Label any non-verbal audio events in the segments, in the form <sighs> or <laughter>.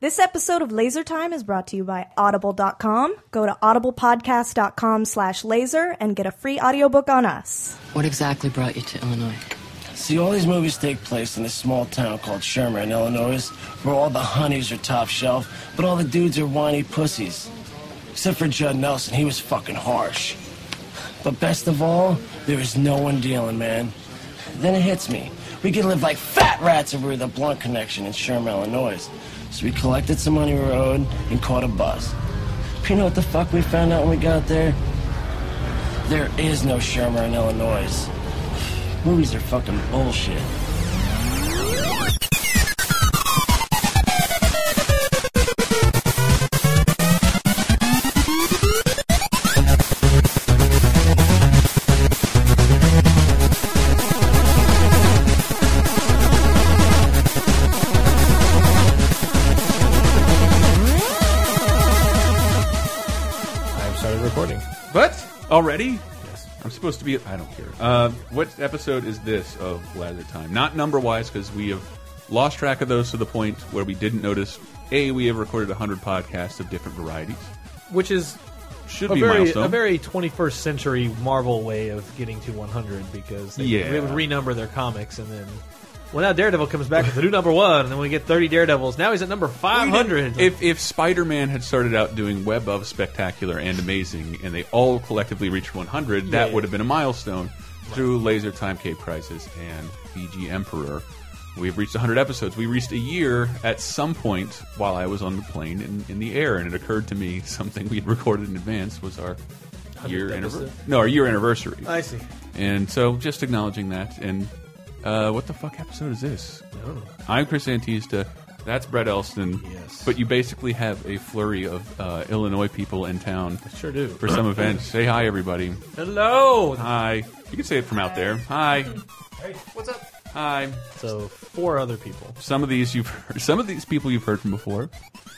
This episode of Laser Time is brought to you by Audible.com. Go to audiblepodcast.com slash laser and get a free audiobook on us. What exactly brought you to Illinois? See, all these movies take place in this small town called Shermer in Illinois, where all the honeys are top shelf, but all the dudes are whiny pussies. Except for Judd Nelson, he was fucking harsh. But best of all, there is no one dealing, man. Then it hits me. We could live like fat rats if we were the Blunt Connection in Shermer, Illinois. So we collected some money we owed and caught a bus. But you know what the fuck we found out when we got there? There is no Shermer in Illinois. Movies are fucking bullshit. I've started recording. But already? Yes. I'm supposed to be. I don't care. Uh, what episode is this of Lather Time? Not number wise, because we have lost track of those to the point where we didn't notice. A, we have recorded 100 podcasts of different varieties. which is Should a be a very, milestone. a very 21st century Marvel way of getting to 100 because they, Yeah. they would renumber their comics and then. Well, now Daredevil comes back with the new number one, and then we get 30 Daredevils. Now he's at number 500. If if Spider Man had started out doing Web of Spectacular and Amazing, and they all collectively reached 100, that yeah. would have been a milestone. Through Laser Time Cave Crisis and BG Emperor, we've reached 100 episodes. We reached a year at some point while I was on the plane in, in the air, and it occurred to me <laughs> something we had recorded in advance was our year anniversary. episode? No, our year anniversary. I see. And so just acknowledging that. And uh, what the fuck episode is this? I'm Chris Antista. That's Brett Elston. Yes. But you basically have a flurry of uh, Illinois people in town Sure do. for some events. Say hi, everybody. Hello! Hi. You can say it from out there. Hi. What's up? Hi. So, four other people. Some of these you've heard, some of these people you've heard from before.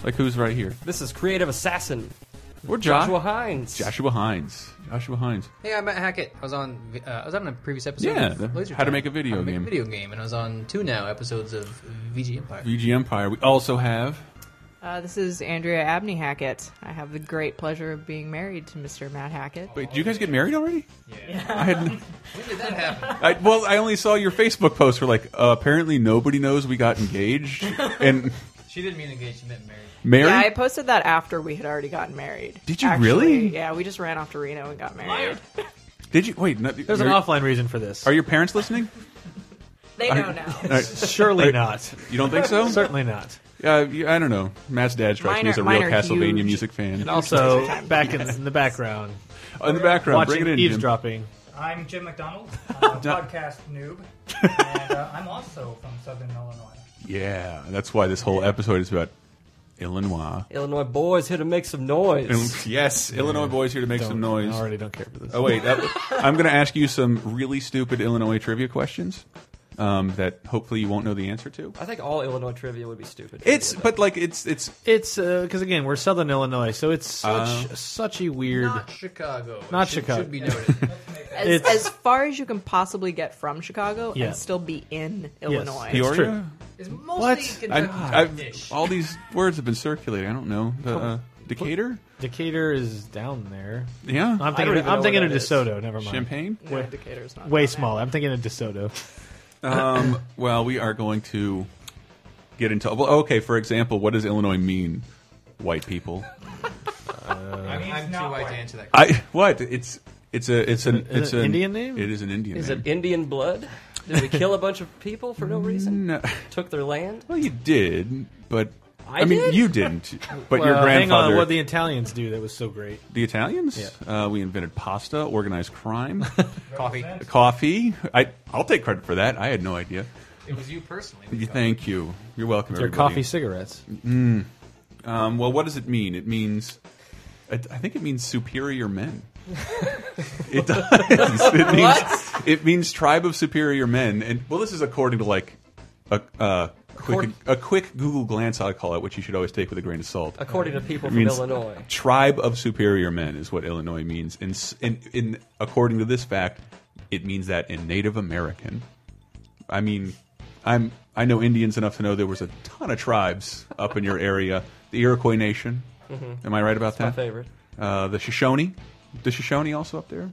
Like who's right here? This is Creative Assassin, Or Josh- Joshua Hines. Joshua Hines. Joshua Hines. Hey, I'm Matt Hackett. I was on uh, I was on a previous episode Yeah, of the- Laser How to Time. Make a Video How to Make Game. a Video Game, and I was on two now episodes of VG Empire. VG Empire. We also have Uh, this is Andrea Abney Hackett. I have the great pleasure of being married to Mr. Matt Hackett. Wait, did you guys get married already? Yeah. I had When did that happen? I, well, I only saw your Facebook post where like uh, apparently nobody knows we got engaged and she didn't mean engaged. She meant married. married. Yeah, I posted that after we had already gotten married. Did you Actually, really? Yeah, we just ran off to Reno and got <laughs> married. Did you wait? No, There's an you're- offline reason for this. Are your parents listening? They know now. All right. Surely not. <laughs> You don't think so? Certainly <laughs> not. Uh, you- I don't know. Matt's dad strikes Mine me are- as a mine real are Castlevania huge. music fan. Also, back in, in the background, in the background, watching bring it in. Jim. eavesdropping. I'm Jim <laughs> McDonald, uh, podcast noob, and uh, I'm also from Southern Illinois. Yeah, that's why this whole episode is about Illinois. Illinois boys here to make some noise. And- yes, Illinois boys here to make some noise. I already don't care for this. Oh wait, that, I'm going to ask you some really stupid Illinois trivia questions um, that hopefully you won't know the answer to. I think all Illinois trivia would be stupid. It's but like it's it's It's because again we're Southern Illinois, so it's such such a weird. not Chicago. Not Should- Chicago. Should be noted. As, It's- <laughs> as far as you can possibly get from Chicago Yeah. and still be in Illinois. It's Peoria? true. it's mostly What? I've, Kentucky-ish. I've, all these words have been circulating. I don't know. The, uh, Decatur? Decatur is down there. Yeah. I'm don't thinking. Of, even I'm know thinking where of that is. DeSoto. Never mind. Champagne? No, Decatur's not Way on smaller. I'm thinking of DeSoto. Um, well, we are going to get into. Well, okay, for example, what does Illinois mean? White people. Uh, I'm, I'm too not white white. to <laughs> answer that. Question. I what? It's it's a it's an it it's an Indian name? It is an Indian Is name. it Indian blood? Did we kill a bunch of people for no reason? No. Took their land? Well, you did, but I, I mean, did? <laughs> you didn't. But your Uh, Hang grandfather, on, what the Italians do that was so great? the Italians. Yeah. Uh, we invented pasta, organized <laughs> crime, Coffee. coffee. I I'll take credit for that. I had no idea. It was you personally. Yeah, Thank you. You're welcome. Their everybody. coffee cigarettes. Um, well, what does it mean? It means, I I think it means superior men. it does. It means, it means tribe of superior men. And well, this is according to like a uh, quick a quick Google glance. I call it, which you should always take with a grain of salt. According to people It from means- Illinois. Tribe of superior men is what Illinois means, and s- in, in according to this fact, it means that in Native American. I mean, I'm I know Indians enough to know there was a ton of tribes up in your area. The Iroquois Nation. Mhm. Am I right about It's my that? favorite. Uh, the Shoshone. The Shoshone also up there.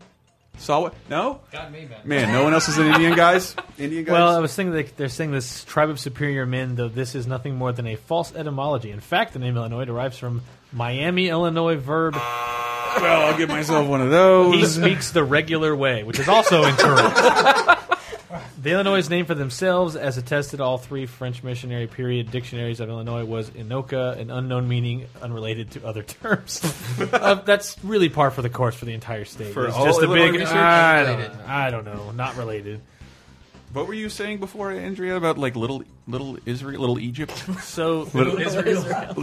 Saw No. Got me, man. Man, no one else is an Indian, guys. Indian guys. Well, uh, I was thinking that they're saying this tribe of superior men, though this is nothing more than a false etymology. In fact, the name Illinois derives from Miami, Illinois verb. Well, I'll give myself one of those. He speaks the regular way, which is also incorrect. the Illinois name for themselves, as attested all three French missionary period dictionaries of Illinois, was Inoka, an unknown meaning unrelated to other terms. uh, that's really par for the course for the entire state. For It's all just a Illinois big. research? I don't, I don't know. Not related. What were you saying before, Andrea, about like little little Israel, little Egypt? So Little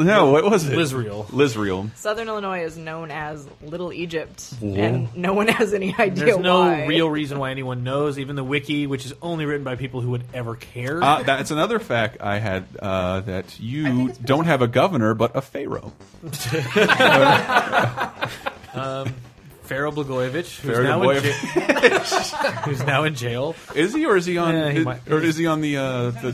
No, what was it? Lizreal. Lizreal. Southern Illinois is known as Little Egypt, Whoa. and no one has any idea There's no why. real reason why anyone knows, even the wiki, which is only written by people who would ever care. Uh, that's another fact I had uh, that you don't have a governor but a pharaoh. um, Pharaoh Blagojevich, who's, Pharaoh now in Blagojevich. ja- <laughs> who's now in jail. Is he or is he on? Yeah, he might- or is he on the? Uh, the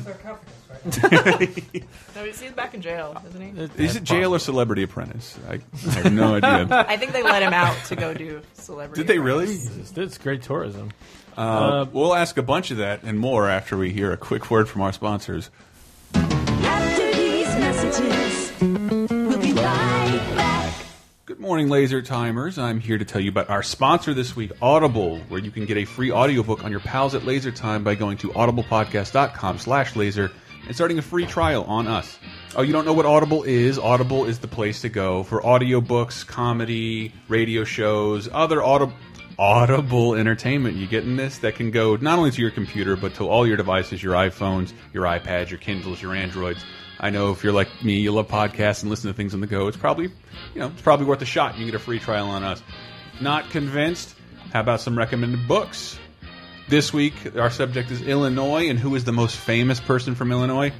<laughs> No, he's back in jail, isn't he? is it jail or Celebrity Apprentice? I, I have no <laughs> idea. I think they let him out to go do celebrity. Did they really? It's, it's great tourism. Uh, we'll ask a bunch of that and more after we hear a quick word from our sponsors. After these messages, we'll be right back. Good morning, Laser Timers. I'm here to tell you about our sponsor this week, Audible, where you can get a free audiobook on your pals at Laser Time by going to audiblepodcast.com slash laser and starting a free trial on us. Oh, you don't know what Audible is? Audible is the place to go for audiobooks, comedy, radio shows, other audible audible entertainment you get in this that can go not only to your computer but to all your devices your iphones your ipads your kindles your androids i know if you're like me you love podcasts and listen to things on the go it's probably you know it's probably worth a shot you can get a free trial on us not convinced how about some recommended books this week our subject is illinois and who is the most famous person from illinois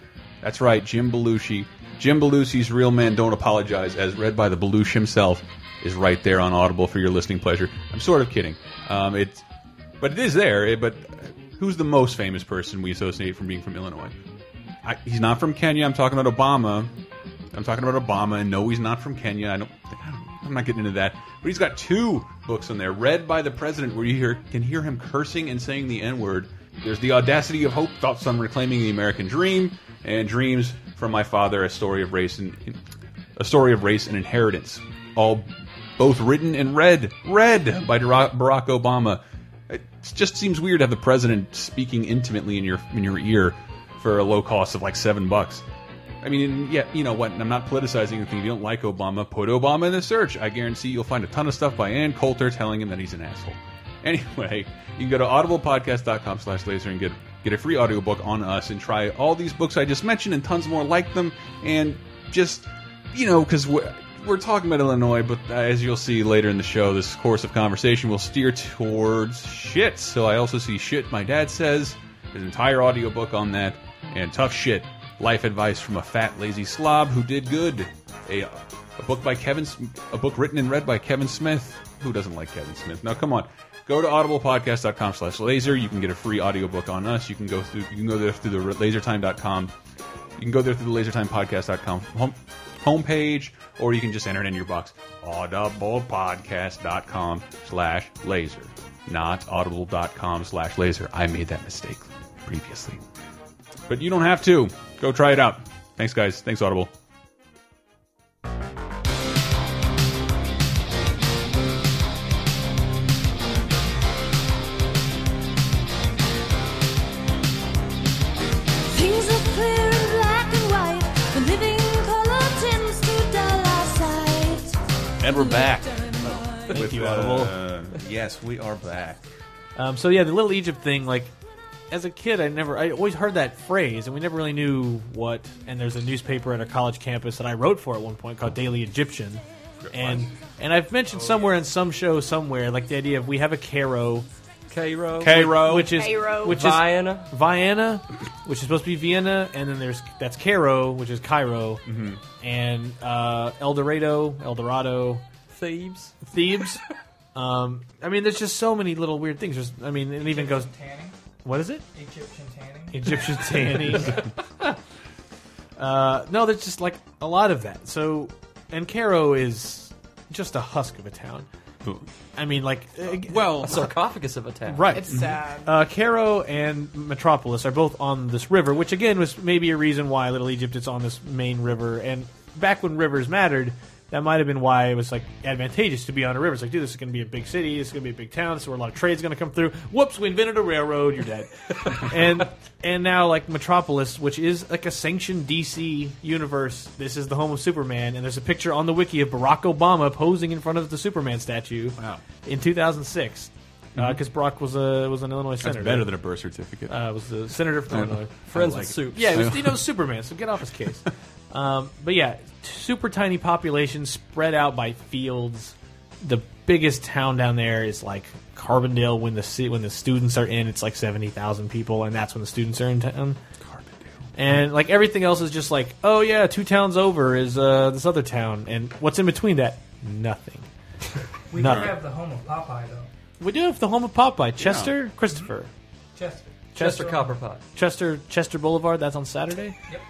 that's right jim belushi jim belushi's real men don't apologize as read by the belushi himself is right there on audible for your listening pleasure i'm sort of kidding um, it's but it is there eh, but who's the most famous person we associate from being from illinois I, he's not from kenya i'm talking about obama i'm talking about obama and no he's not from kenya i don't I'm not getting into that. But he's got two books on there, read by the president, where you hear, can hear him cursing and saying the N word. There's The Audacity of Hope, Thoughts on Reclaiming the American Dream, and Dreams from My Father, A Story of Race and A Story of Race and Inheritance. All both written and read, read by Dara- Barack Obama. It just seems weird to have the president speaking intimately in your in your ear for a low cost of like seven bucks. I mean, and yeah, you know what? and I'm not politicizing anything. If you don't like Obama, put Obama in the search. I guarantee you'll find a ton of stuff by Ann Coulter telling him that he's an asshole. <laughs> Anyway, you can go to audiblepodcast.com slash laser and get get a free audiobook on us and try all these books I just mentioned and tons more like them. And just, you know, because we're, we're talking about Illinois, but uh, as you'll see later in the show, this course of conversation will steer towards shit. So I also see shit my dad says, his entire audiobook on that, and tough shit. Life advice from a fat, lazy slob who did good. A, a book by Kevin, Sm- a book written and read by Kevin Smith. Who doesn't like Kevin Smith? Now, come on. Go to audiblepodcast.com slash laser. You can get a free audiobook on us. You can go through, you can go there through the lasertime.com. You can go there through the lasertimepodcast.com home, homepage, or you can just enter it in your box. Audiblepodcast.com slash laser. Not audible.com slash laser. I made that mistake previously but you don't have to. Go try it out. Thanks, guys. Thanks, Audible. Things are clear in black and white. The living color tends to dull our sight. And we're back. uh, Thank you, Audible. yes, we are back. Um, so yeah, the little Egypt thing. Like as a kid, I never, I always heard that phrase, and we never really knew what. And there's a newspaper at a college campus that I wrote for at one point called Daily Egyptian, and and I've mentioned somewhere in some show somewhere like the idea of we have a Cairo. Cairo. Cairo. which is Cairo. which is Vienna. Vienna, which is supposed to be Vienna, and then there's that's Cairo, which is Cairo, and uh, El Dorado, El Dorado, Thebes. Thebes. um, I mean, there's just so many little weird things. There's, I mean, it even goes Tanning. What is it? Egyptian tanning. <laughs> Egyptian tanning. uh, no, there's just like a lot of that. So, and Cairo is just a husk of a town. I mean, like, uh, well, a sarcophagus of a town. Right. It's sad. Uh, Caro and Metropolis are both on this river, which again was maybe a reason why Little Egypt is on this main river. And back when rivers mattered, that might have been why it was like advantageous to be on a river. It's like, dude, this is going to be a big city. This is going to be a big town. This is where a lot of trade's going to come through. Whoops, we invented a railroad. You're dead. and and now like Metropolis, which is like a sanctioned DC universe. This is the home of Superman, and there's a picture on the wiki of Barack Obama posing in front of the Superman statue. Wow. In 2006 because uh, Brock was a was an Illinois Mm-hmm. That's senator. better than a birth certificate. Uh, was the senator from I- Illinois. Friends I with it. soups. Yeah, it I was, know. <laughs> you know Superman. So get off his case. um, but yeah, super tiny population spread out by fields. The biggest town down there is like Carbondale. When the ci- when the students are in, it's like seventy thousand people, and that's when the students are in town. And like everything else is just like, oh yeah, two towns over is uh, this other town, and what's in between that? Nothing. We do Nothing. have the home of Popeye though. We do have the home of Popeye, Chester, Christopher, Chester. Chester Copperpot, Chester Chester Boulevard. That's on Saturday. Yep.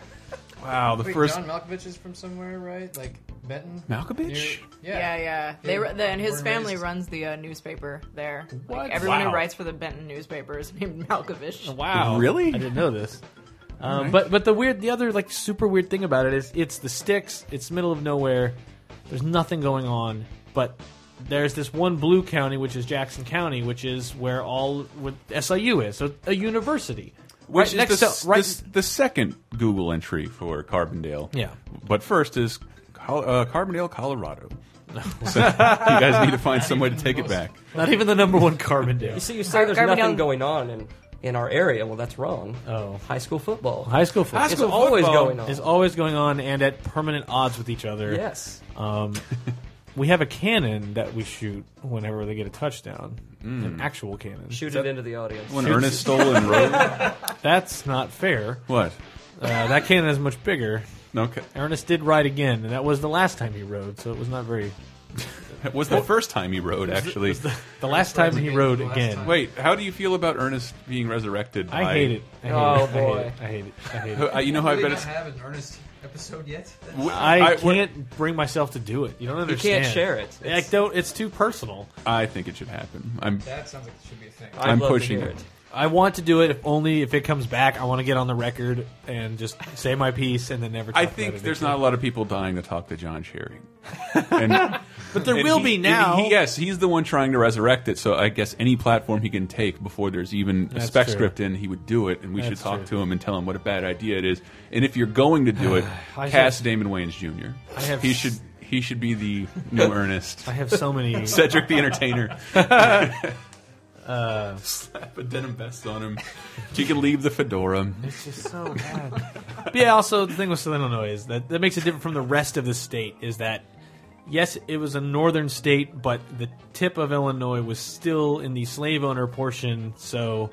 Wow, the Wait, first. John Malkovich is from somewhere, right? Like Benton. Malkovich? Near- yeah. yeah, yeah. They were were- the, and his born family raised- runs the uh, newspaper there. Like, What? everyone Wow. who writes for the Benton newspaper is <laughs> named Malkovich. Wow, Really? I didn't know this. Um, Alright. But but the weird, the other like super weird thing about it is it's the sticks. It's middle of nowhere. There's nothing going on. But there's this one blue county, which is Jackson County, which is where all with SIU is, so a university. right Which is next the, to right the, the second Google entry for Carbondale. Yeah. But first is Col uh, <laughs> Carbondale, Colorado. so you guys need to find some way to take it back. Not even the number one <laughs> You Carbondale. see, you say there's Carbondale- nothing going on in, in our area. Well, that's wrong. Oh. High school football. High school football. High school It's always football going on. It's always going on and at permanent odds with each other. Yes. Um, we have a cannon that we shoot whenever they get a touchdown. An actual cannon. Shoot it into the audience. When Shoots- Ernest stole <laughs> and rode. That's not fair. What? Uh, that cannon is much bigger. Okay. Ernest did ride again, and that was the last time he rode, so it was not very. That was the first time he rode, actually. The last time he rode again. Wait, how do you feel about Ernest being resurrected? I by- hate it. I hate Oh, it. boy. I hate it. I hate it. I hate it. Uh, You know how Do I they bet not it's. have an Ernest episode yet? I, <laughs> I- can't bring myself to do it. You don't can't understand. share it. I don't. It's too personal. I think it should happen. I'm. That sounds like it should be a thing. I'd I'm love to pushing hear it. I want to do it if only if it comes back. I want to get on the record and just say my piece and then never. Talk I about think it there's again. not a lot of people dying to talk to <laughs> John Sherry. And but there And will he- be and now. he- yes, he's the one trying to resurrect it. So I guess any platform he can take before there's even a That's spec true. script in, he would do it. And we That's should talk true. to him and tell him what a bad idea it is. And if you're going to do it, <sighs> I cast have- Damon Wayans Jr. I have he s- should he should be the <laughs> new Ernest I have so many. Cedric the <laughs> Entertainer. <laughs> Slap a denim vest on him. He can leave the fedora. It's just so bad. but yeah, also the thing with Southern Illinois is that that makes it different from the rest of the state is that yes, it was a northern state, but the tip of Illinois was still in the slave owner portion, so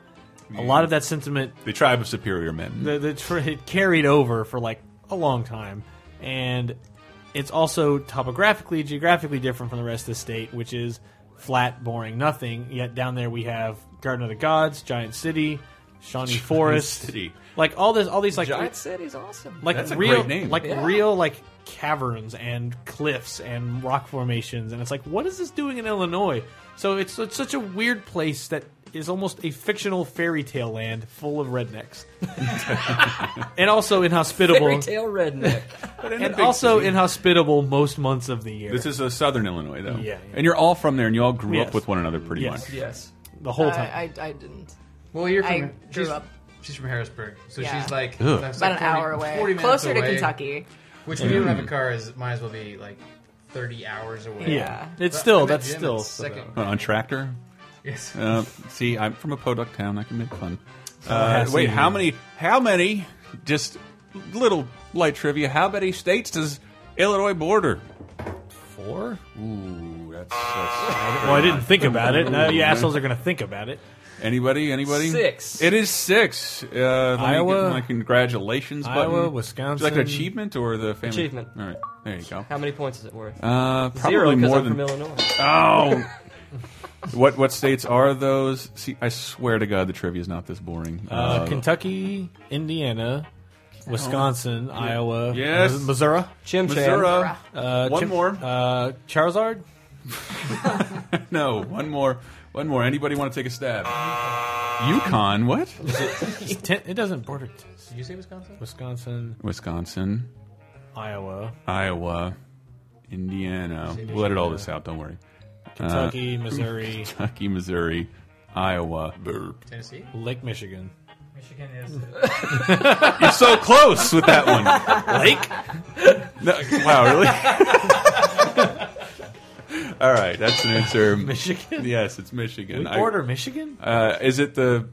a lot of that sentiment The tribe of superior men. the the tr it carried over for like a long time, and it's also topographically, geographically different from the rest of the state, which is flat, boring, nothing. Yet down there we have Garden of the Gods, Giant City, Shawnee Forest, City. like all this, all these like Giant City's awesome. like That's a real great name. like Yeah. real like caverns and cliffs and rock formations and it's like what is this doing in illinois so it's, it's such a weird place that is almost a fictional fairy tale land full of rednecks and also inhospitable Fairy <laughs> tale redneck. and also inhospitable most months of the year This is a southern Illinois, though. Yeah, yeah. And you're all from there, and you all grew Yes. up with one another pretty Yes. much. yes. the whole time I, I, I didn't. Well, you're from. I grew she's, up. She's from Harrisburg, so Yeah. she's like Ugh. that's About like an hour 40 away, 40 minutes closer to away, Kentucky. Which, if you don't have a car, is might as well be like thirty hours away. yeah But it's still I'm at that's gym, still it's second. Uh, on tractor. Yes. Uh, see, I'm from a podunk town. I can make fun. Oh, I Uh, see. wait, how many? How many? Just little light trivia. How many states does Illinois border? four Ooh, <laughs> that's. well i didn't think about it now you assholes are gonna think about it Anybody? Anybody? Six. It is six. Uh, let me Iowa. get my congratulations button. Iowa, Is that Wisconsin. an achievement or the family? Achievement. All right, there you go. How many points is it worth? Uh, probably <laughs> Zero, because more I'm than from Illinois. Oh, What what states are those? See, I swear to God, the trivia is not this boring. Uh, Kentucky, Indiana, Oh. Wisconsin, Yeah. Iowa, Yes. uh, Missouri, Chimcham. Missouri. Uh, One Chim- more. uh, Charizard. <laughs> no, one more, one more. Anybody want to take a stab? Yukon, what? It's ten- it doesn't border. Did you say Wisconsin? Wisconsin, Wisconsin, Uh, Iowa, Iowa, Indiana. We'll edit all this out. Don't worry. Kentucky, Missouri. Kentucky, Missouri, Iowa. Burp. Tennessee? Lake Michigan. Michigan is. <laughs> You're so close with that one. Lake? No, wow, really? <laughs> All right, that's an answer. Michigan? Yes, it's Michigan. We border Michigan? Uh, is it the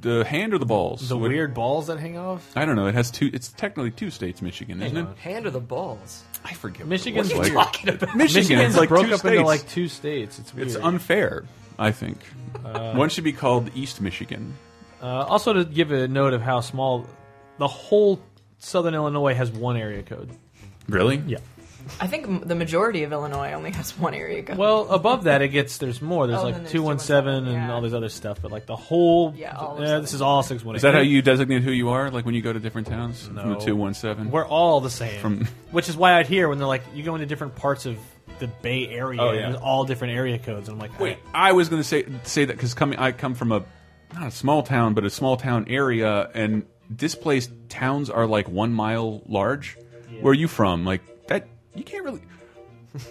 the hand or the balls? The What- weird balls that hang off. I don't know. It has two. It's technically two states, Michigan, isn't Hang it? on. Hand or the balls? I forget. Michigan's what it's weird. like. Michigan Michigan's it's like broke two up states. into like two states. It's weird. It's unfair. I think one should be called East Michigan. Uh, also, to give a note of how small the whole Southern Illinois has one area code. Really? Yeah. I think m- the majority of Illinois only has one area code. <laughs> Well, above that, it gets there's more. There's Oh, like then there's two one seven and 217, yeah. all this other stuff. But like the whole, Yeah, yeah, all of this is all six one eight. Is that how you designate who you are? Like when you go to different towns? From No. the two one seven. We're all the same. From- Which is why I'd hear when they're like, you go into different parts of the Bay Area, Oh, and yeah. there's all different area codes. And I'm like, Wait, I was going to say say that because coming, I come from a not a small town, but a small town area, and displaced towns are like one mile large. Where are you from? Like that, you can't really.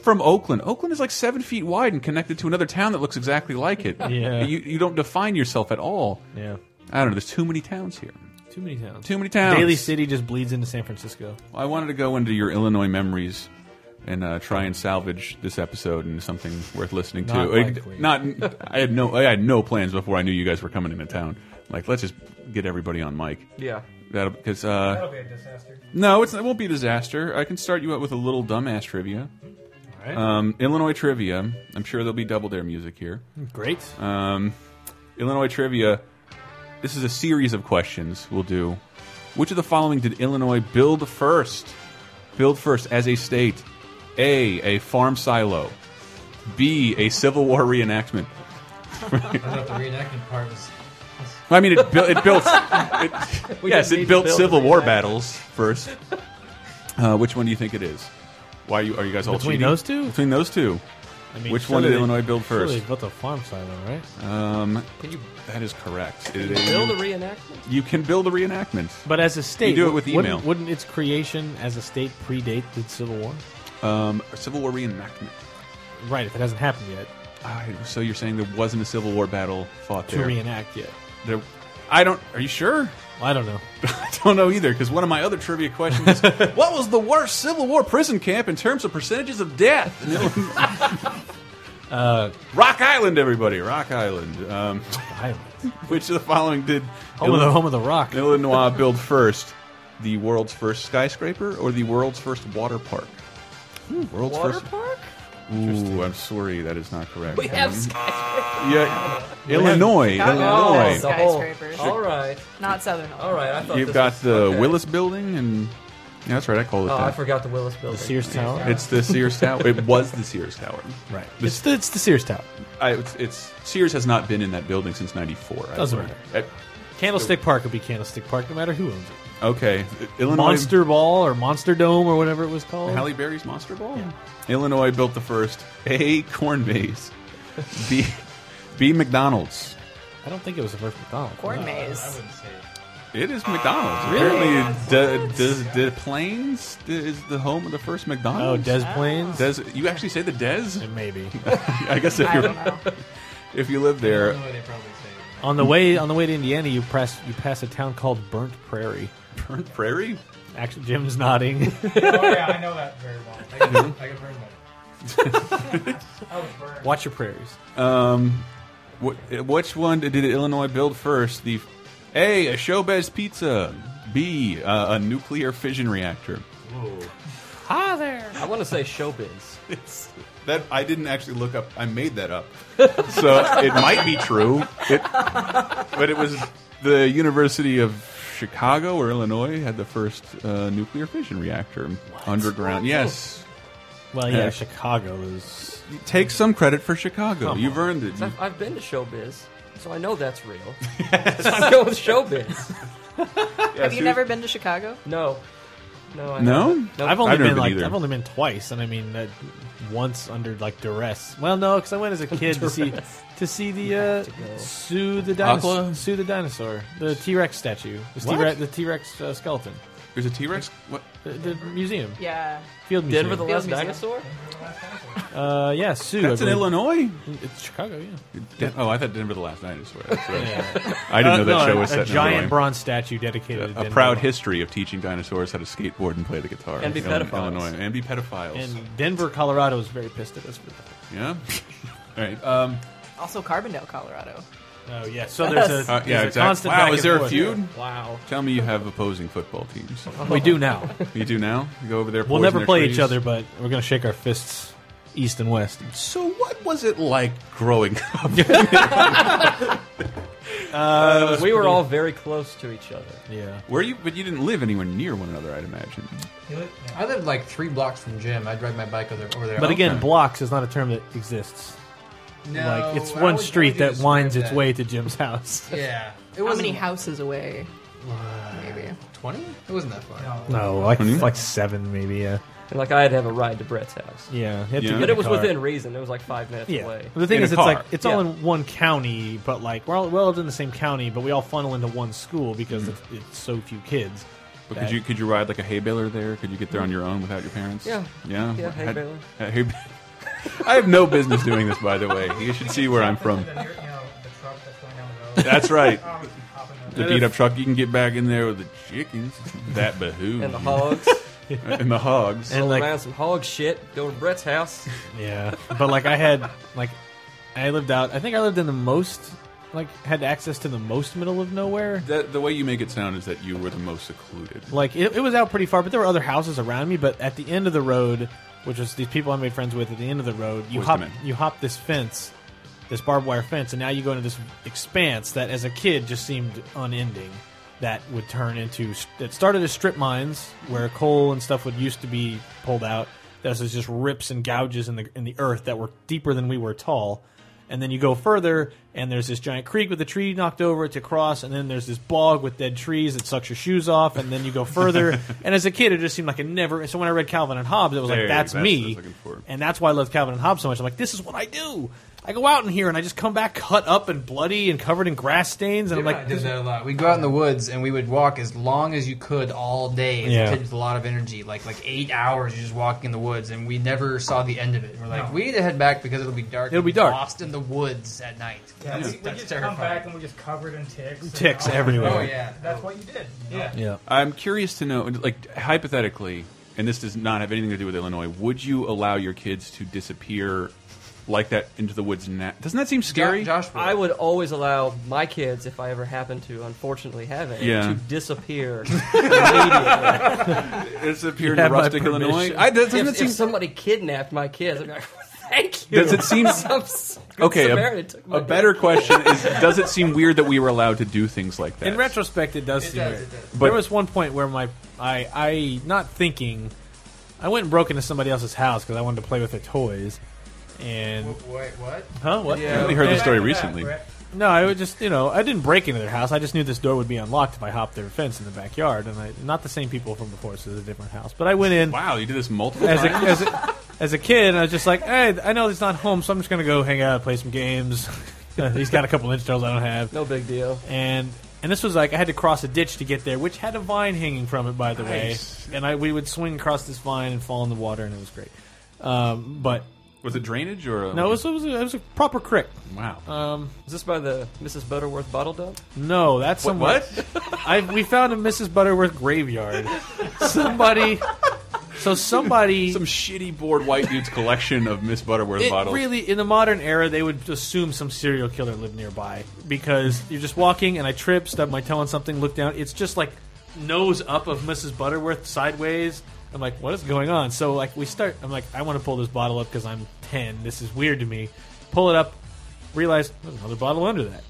From Oakland, Oakland is like seven feet wide and connected to another town that looks exactly like it. Yeah. you you don't define yourself at all. I- yeah, I don't know. There's too many towns here. too many towns. Too many towns. Daily City just bleeds into San Francisco. I wanted to go into your Illinois memories and uh, try and salvage this episode into something worth listening Not to. Like, likely. not I had no I had no plans before I knew you guys were coming into town. Like let's just get everybody on mic. Yeah. That'll because uh, That'll be a disaster. no, it's, it won't be a disaster. I can start you out with a little dumbass trivia. right. Um, Illinois trivia. I'm sure there'll be double dare music here. Great. Um, Illinois trivia. This is a series of questions we'll do. Which of the following did Illinois build first? Build first as a state. A. A farm silo. B. A Civil War reenactment. I thought the reenactment part was. I mean, it, bu <laughs> it built. It, We yes, just need it to built build Civil a War reenactment. battles first. Uh, which one do you think it is? Why are you, are you guys all Between cheating? those two? Between those two. I mean, Which surely one did they- Illinois build surely first? they built a farm silo, right? Um, Can you that is correct. It is- build a reenactment? you can build a reenactment. But as a state, do it with wouldn't- email. Wouldn't, its creation as a state predate the Civil War? Um, a Civil War reenactment. Right, if it hasn't happened yet, Ah, so you're saying there wasn't a Civil War battle fought to there? reenact yet. there? I don't. Are you sure? I don't know. <laughs> I don't know either. Because one of my other trivia questions is, what was the worst Civil War prison camp in terms of percentages of death? in Illinois? Rock Island, everybody, Rock Island. Um, <laughs> Island. which of the following did Home of the home of the rock. Illinois build first? The world's first skyscraper or the world's first water park? world's Water first. park? Ooh, I'm sorry, that is not correct. We Um, have skyscrapers. Yeah, Illinois, Chicago. Illinois. Oh. Skyscrapers. All right. Not Southern Illinois. All right. I thought You've this got was- the okay. Willis Building, and yeah, that's right. I called it Oh, I that. forgot the Willis building. The Sears Tower. It's the Sears Tower. It was the Sears Tower. right. It's the, it's the Sears Tower. I, it's, it's Sears has not been in that building since '94. Doesn't matter. Eh, Candlestick Park would be Candlestick Park, no matter who owns it. Okay, Illinois. Monster Ball or Monster Dome or whatever it was called. Halle Berry's Monster Ball. Illinois built the first A corn maze, B B McDonald's. I don't think it was the first McDonald's. Corn Uh, No. I maze. wouldn't say it. It is McDonald's. Apparently, does the Plains is the home of the first Oh, McDonald's? Des Plains? Des, you actually say the Des? Maybe. I guess if I don't you know. <laughs> if you I live <laughs> there, don't know why Oh, they probably say it. on the way on the way to Indiana, you press you pass a town called Burnt Prairie. Burnt Prairie. Actually, Jim's nodding. Oh yeah, I know that very well. I can, I can burn that. I was burned. <laughs> Watch your prairies. Um, wh which one did Illinois build first? The A, a Showbiz Pizza. B, uh, a nuclear fission reactor. Hi there. I want to say showbiz. <laughs> It's, that I didn't actually look up. I made that up, <laughs> so it might be true. It, but it was the University of Chicago or Illinois had the first uh, nuclear fission reactor underground. Yes, Well, yeah, Uh, Chicago is. Take some credit for Chicago. Come You've on. earned it. So I've, I've been to showbiz, so I know that's real. so I'm going with showbiz. Have you never been to Chicago? No. No. I No? haven't. Nope. I've only I've never been been like either. I've only been twice, and I mean uh, once under like duress. Well, no, because I went as a kid to see to see the uh, sue the dinosaur, Aqua? sue the dinosaur, the T Rex statue, the What? T Rex, the T Rex uh, skeleton, There's a T Rex. What? the, the museum, Yeah. field museum. Denver the Field Last Museum. Dinosaur? uh, yeah, sue. That's I in believe. Illinois. It's Chicago, yeah. Den- oh, I thought Denver the Last Dinosaur. That's what I, I didn't know that Uh, no, show a- was a, set in giant Illinois. bronze statue dedicated to a Denver. proud history of teaching dinosaurs how to skateboard and play the guitar And be in Illinois- pedophiles. Illinois and be pedophiles. And Denver, Colorado is very pissed at us for that. <laughs> yeah. All right. Um, Also Carbondale, Colorado. Oh yeah, so there's a, Uh, yeah, there's exact- a constant wow, back is and there a forth. <laughs> feud? Wow, tell me you have opposing football <laughs> teams. we do now. You do now. You go over there. We'll poison never their play trees? each other, but we're gonna shake our fists, east and west. So, what was it like growing <laughs> up? we were all very close to each other. Yeah, Were you? But you didn't live anywhere near one another, I'd imagine. I lived like three blocks from Jim. I'd ride my bike over, over there. but again, Okay. blocks is not a term that exists. no, like it's I one would- I would street do that this winds with its that. way to Jim's <laughs> house. Yeah, it How wasn't many houses away? Maybe. Twenty? It wasn't that far. No, Oh, like like seven maybe. Yeah, And like I had to have a ride to Brett's house. yeah. Yeah. But it was within reason. It was like five minutes Yeah. away. The thing In a is, it's car. like it's all Yeah. in one county, but like we're all we're all in the same county, but we all funnel into one school because it's, it's so few kids. But that- could you could you ride like a hay baler there? Could you get there on your own without your parents? Yeah. yeah, Yeah, hay Had- baler. had <laughs> hay ba- I have no business doing this, by the way. You should see where I'm from. The, near- you know, the truck that's going down the <laughs> road. That's right. Oh, we can hop in The there. beat up truck. You can get back in there with the chickens. That behooves And the <laughs> you. hogs. and the hogs. And around some hog shit. Go to Brett's house. Yeah, but like I had like I lived out. I think I lived in the most like had access to the most middle of nowhere. That, the way you make it sound is that you were the most secluded. Like it, it was out pretty far, but there were other houses around me. But at the end of the road, which was these people I made friends with, at the end of the road, you Where's hop the man? you hop this fence, this barbed wire fence, and now you go into this expanse that, as a kid, just seemed unending. That would turn into it started as strip mines where coal and stuff would used to be pulled out. That was just rips and gouges in the in the earth that were deeper than we were tall. And then you go further, and there's this giant creek with a tree knocked over it to cross, and then there's this bog with dead trees that sucks your shoes off, and then you go <laughs> further. and as a kid, it just seemed like it never. So when I read Calvin and Hobbes, it was There, like that's, that's what I me, was looking for. and that's why I love Calvin and Hobbes so much. I'm like, this is what I do. I go out in here and I just come back cut up and bloody and covered in grass stains, and Jim I'm and I like, did that a lot. We'd go out in the woods and we would walk as long as you could all day. As Yeah. a kid with a lot of energy, like like eight hours, you're just walking in the woods, and we never saw the end of it. We're like, we need to head back because it'll be dark. It'll and be dark. Lost in the woods at night. Yeah, we, That's, we that's just terrifying. come back and we just covered in ticks. and Ticks all that. everywhere. Oh, yeah. that's what you did. you know? yeah, I'm curious to know, like hypothetically, and this does not have anything to do with Illinois. Would you allow your kids to disappear like that into the woods? Na Doesn't that seem scary? Josh, would. I would always allow my kids, if I ever happened to, unfortunately, have any, Yeah. to disappear immediately. disappear You to have my rustic permission. Illinois. I, doesn't if, it seem if somebody kidnapped my kids, I'd be like, <laughs> thank you. Does it seem- Some s- good okay? A, Samaritan took my a better question is: Does it seem weird that we were allowed to do things like that? In retrospect, it does It seem does, weird. it does. there But- was one point where my I I not thinking, I went and broke into somebody else's house because I wanted to play with their toys, and Wait, what? huh what? I only heard And- the story Back to that, recently. Brett. No, I would just you know I didn't break into their house. I just knew this door would be unlocked if I hopped their fence in the backyard, and I not the same people from before, so it's a different house. But I went in Wow, you did this multiple as a, times. as a as a kid, and I was just like, hey, I know he's not home, so I'm just gonna go hang out, play some games. <laughs> he's got a couple inch trails I don't have. No big deal. and and this was like I had to cross a ditch to get there, which had a vine hanging from it, by the way. And I we would swing across this vine and fall in the water, and it was great. Um, but Was it drainage or a, no, it was, it was a, it was a proper crick. wow? Um, Is this by the Mrs. Butterworth bottle dump? no, that's What- somewhere- <laughs> I we found a Mrs. Butterworth graveyard. somebody, so <laughs> somebody. Some shitty bored white dude's collection of Miss Butterworth it bottles. really in the modern era they would assume some serial killer lived nearby because you're just walking and I trip, stub my toe on something, look down. It's just like nose up of Mrs. Butterworth sideways. I'm like, what is going on? So like we start. I'm like, I want to pull this bottle up because I'm ten. This is weird to me. Pull it up. Realize there's another bottle under that.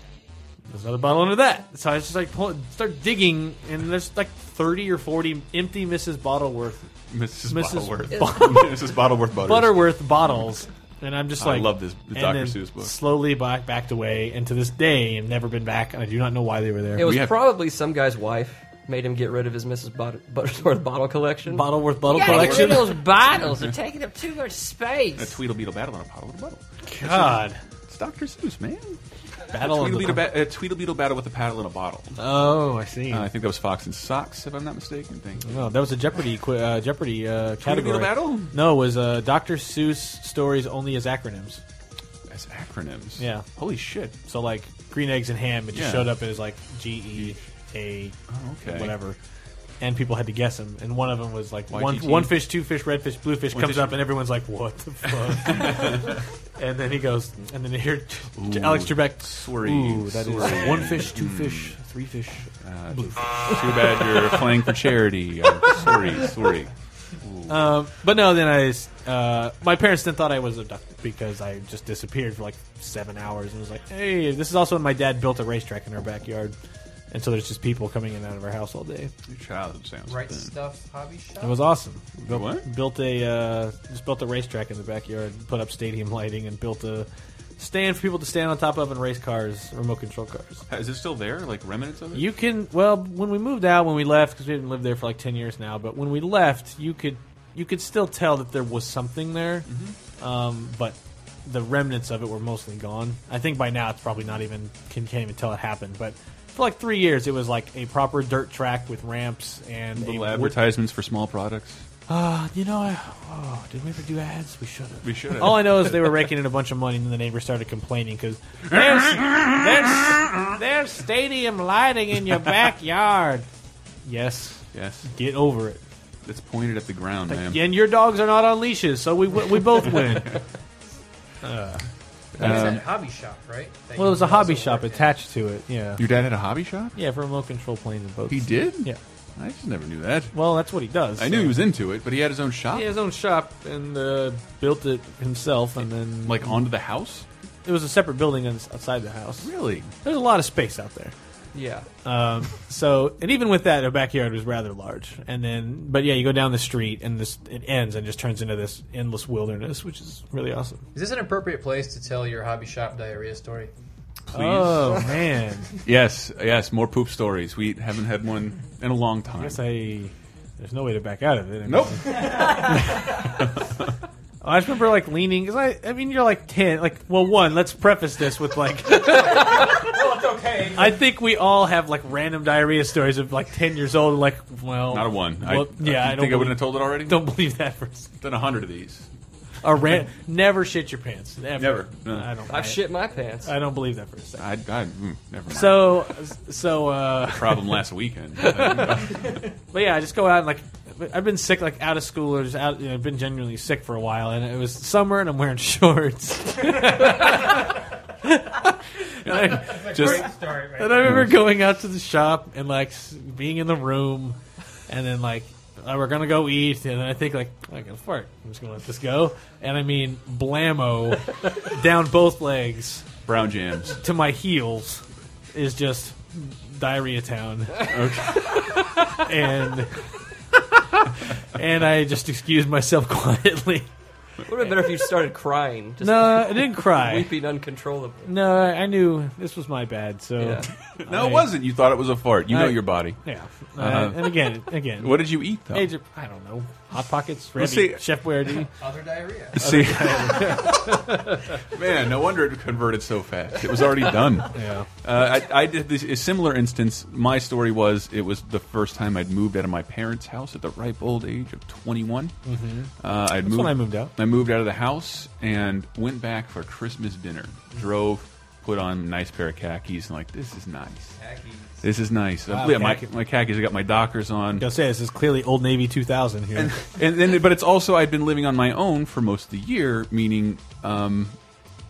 There's another bottle under that. So I was just like pull, start digging, and there's like thirty or forty empty Mrs. Bottleworth, Mrs. Bottleworth. <laughs> Bo- Mrs. Bottleworth Butters. Butterworth bottles, and I'm just I like, love this- the and Dr. then Seuss book. Slowly back, backed away, and to this day, I've never been back, and I do not know why they were there. It was probably some guy's wife made him get rid of his Mrs. But- Butterworth bottle collection. Bottleworth bottle You gotta get collection? rid of those bottles. They're taking up too much space. A Tweedlebeetle battle on a bottle with a bottle. <laughs> God. It's Dr. Seuss, man. Battle a on the- Tweedlebeetle, ba- a Tweedlebeetle battle with a paddle in a bottle. Oh, I see. Uh, I think that was Fox and Socks, if I'm not mistaken. Thing. No, that was a Jeopardy qu- uh, Jeopardy uh, Tweedledee category. the Battle? No, it was uh, Dr. Seuss stories only as acronyms. As acronyms. Yeah. Holy shit. So like green eggs and ham, it just Yeah. Oh, showed up as like G E A okay. whatever, and people had to guess them. And one of them was like one, YGT? one fish, two fish, red fish, blue fish One comes fish- up, and everyone's like, "What the <laughs> fuck?" and then he goes, and then they hear Ooh, Alex Trebek, sorry, Ooh, that is sorry. one fish, two fish, Hmm. three fish, Uh, blue too fish." bad you're playing for charity. I'm sorry, sorry. Ooh. Um, but no, then I, s- uh, my parents then thought I was abducted because I just disappeared for like seven hours and was like, hey, this is also when my dad built a racetrack in our backyard. And so there's just people coming in and out of our house all day. Your childhood sounds Right thin. stuff hobby shop. It was awesome. Built, What? Built a, uh, just built a racetrack in the backyard, put up stadium lighting, and built a stand for people to stand on top of and race cars, remote control cars. Is it still there? Like remnants of it? You can well when we moved out when we left because we haven't lived there for like ten years now. But when we left, you could you could still tell that there was something there, um, but the remnants of it were mostly gone. I think by now it's probably not even can, can't even tell it happened. But for like three years, it was like a proper dirt track with ramps and Little a advertisements for small products. Uh, you know, I, oh, did we ever do ads? We should have. We should've. All I know is they were raking in a bunch of money, and then the neighbors started complaining because there's, there's there's stadium lighting in your backyard. Yes, Yes. get over it. It's pointed at the ground, man. And your dogs are not on leashes, so we w- we both <laughs> win. Uh, That was Um, that hobby shop, right? That well, it you was a hobby also shop worked in. attached to it. Yeah, Your dad had a hobby shop? yeah, for remote control planes and boats. He did? Yeah. I just never knew that. Well, that's what he does. I knew so. he was into it, but he had his own shop. He had his own shop and uh, built it himself, and then Like onto the house? It was a separate building ins- outside the house. Really? There's a lot of space out there. Yeah. Um, so, and even with that, our backyard was rather large. And then, but yeah, you go down the street and this it ends and just turns into this endless wilderness, which is really awesome. Is this an appropriate place to tell your hobby shop diarrhea story? Please. Oh <laughs> man, Yes, yes, more poop stories. We haven't had one in a long I time. guess I there's no way to back out of it. I Nope. mean- I just remember like leaning because I, I mean, you're like ten. Like, well, one. Let's preface this with like, No, it's okay. I think we all have like random diarrhea stories of like ten years old. Like, well, Not a one. I- Well, yeah, I, don't you think I believe- wouldn't have told it already? Don't believe that for a second. Done a hundred of these. A ran- never shit your pants. Never. Never. No. I don't. I've I- shit my pants. I don't believe that for a second. I, I mm, never mind. So, so, uh, problem last weekend. Uh, but yeah, I just go out and like, I've been sick, like out of school or just out. You know, I've been genuinely sick for a while, and it was summer, and I'm wearing <laughs> shorts. <laughs> And I, just, Great story, right? and I remember going out to the shop and like s- being in the room, and then like uh, we're gonna go eat, and I think like I gotta fart. I'm just gonna let this go, and I mean blammo down both legs. Brown jams. to my heels is just diarrhea town. <laughs> and and I just excused myself <laughs> quietly. Would have been better if you started crying. Just No, I didn't cry. <laughs> weeping uncontrollably. No, I knew this was my bad. So Yeah. No, I- it wasn't. You thought it was a fart. You know I- your body. yeah. Uh, Uh-huh. and again, again. What did you eat though? Age of- I don't know. Hot pockets, Let's Rebby, see. Chef <laughs> Boyardee. Other diarrhea. See, <laughs> man, no wonder it converted so fast. It was already done. Yeah. Uh, I, I did this, a similar instance. My story was it was the first time I'd moved out of my parents' house at the ripe old age of 21. Mm-hmm. Uh, I'd moved, when I moved out. I moved out of the house and went back for Christmas dinner. Mm-hmm. Drove, put on a nice pair of khakis, and like, this is nice. This is nice. Wow, yeah, my, khaki. my khakis, I got my Dockers on. Gonna say this is clearly Old Navy 2000 here. and then, but it's also I'd been living on my own for most of the year, meaning um,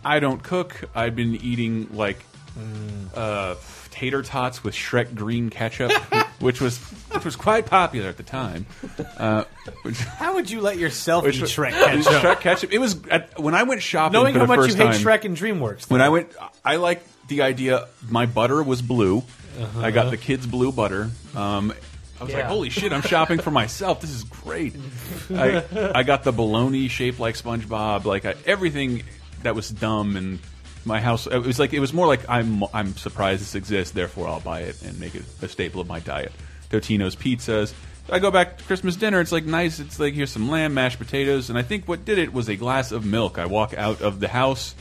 I don't cook. I've been eating like Mm. uh, tater tots with Shrek green ketchup, <laughs> which was which was quite popular at the time. Uh, which, How would you let yourself eat was- Shrek ketchup? Shrek ketchup. It was at, when I went shopping. Knowing for how the much you first hate time- Shrek and DreamWorks. when I went, I like Uh-huh. the idea. My butter was blue. I got the kids' blue butter. Um, I was Yeah. like, holy shit, I'm shopping for myself. This is great. I, I got the bologna shaped like SpongeBob, like I, everything that was dumb and my house. It was like it was more like I'm I'm surprised this exists, therefore I'll buy it and make it a staple of my diet. Totino's pizzas. I go back to Christmas dinner. It's like nice. It's like here's some lamb, mashed potatoes, and I think what did it was a glass of milk. I walk out of the house,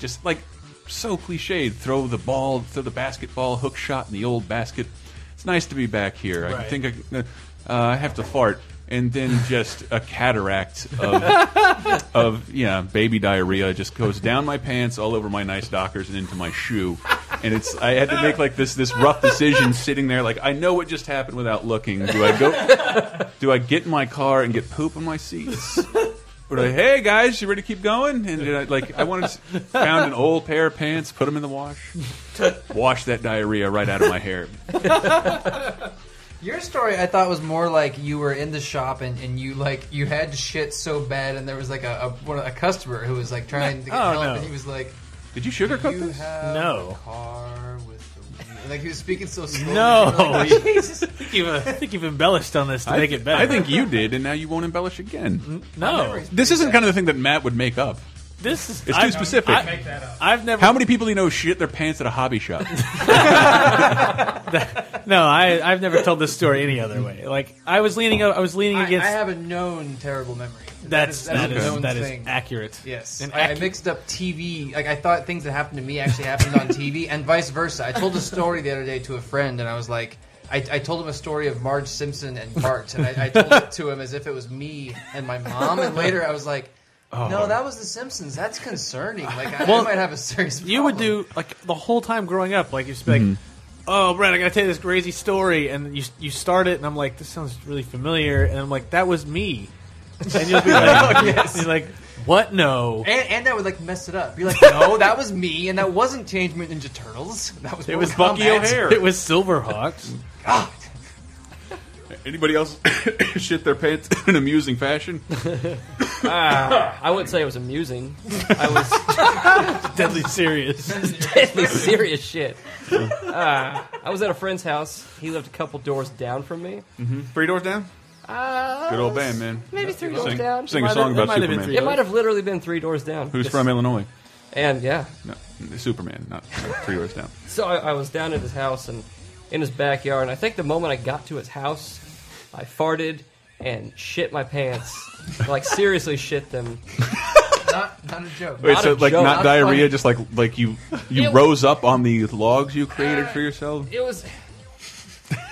just like so cliched. Throw the ball, throw the basketball, hook shot in the old basket. It's nice to be back here. I Right. think I, uh, I have to fart, and then just a cataract of of yeah, baby diarrhea just goes down my pants, all over my nice dockers, and into my shoe. And it's I had to make like this this rough decision sitting there, like I know what just happened without looking. Do I go? Do I get in my car and get poop on my seats? Or do I, hey guys, you ready to keep going? And did I, like I wanted to, found an old pair of pants, put them in the wash, wash that diarrhea right out of my hair. Your story, I thought, was more like you were in the shop and, and you like you had shit so bad, and there was like a a, one, a customer who was like trying to get Oh, help, no. and he <laughs> was like, Did you sugarcoat you this? Have No. a car with the wheel." like he was speaking so <laughs> slowly. No, <laughs> Like, I think you've uh, I think you've embellished on this to I- make it better. I think you did, and now you won't embellish again. <laughs> No, This isn't kind of the thing that Matt would make up. this is It's I- too specific. I- I've never. How many people do you know shit their pants at a hobby shop? No, I, I've never told this story any other way. Like I was leaning, I was leaning I, against. I have a known terrible memory. that's that is, that is a known that is thing. accurate. Yes, And I, I accu- mixed up TV. Like I thought things that happened to me actually happened on TV, and vice versa. I told a story the other day to a friend, and I was like, I, I told him a story of Marge Simpson and Bart, and I, I told it to him as if it was me and my mom. And later, I was like, Oh. No, that was The Simpsons. That's concerning. Like I, I might have a serious. You would do like the whole time growing up, like you just be like, Mm-hmm. "Oh, Brad, I gotta tell you this crazy story," and you you start it, and I'm like, "This sounds really familiar," and I'm like, "That was me," and you'll be like, <laughs> Oh, Yes. you're like, "What? No." And, and that would like mess it up. Be like, no, that was me, and that wasn't Teenage Mutant Ninja Turtles. That was It Mortal was Bucky Kombat. O'Hare. It was <laughs> Silverhawks. <laughs> Anybody else <coughs> shit their pants <coughs> in amusing fashion? Ah, I wouldn't say it was <laughs> amusing. I was deadly serious. deadly serious shit. Ah, I was at a friend's house. He lived a couple doors down from me. Mhm. Three doors down. Uh, Good old band, man. Maybe three doors Sing- down. sing a Might song have- about it might have been Superman. three It doors. might have literally been three doors down. Who's Just- from Illinois? And yeah, No, Superman, not not three doors down. So I, I was down at his house and in his backyard, and I think the moment I got to his house, I farted and shit my pants. like seriously, shit them. Not, not a joke. Wait, Not so a like joke. not, Not diarrhea, funny. just like like you you It- rose up on the logs you created for yourself. It was.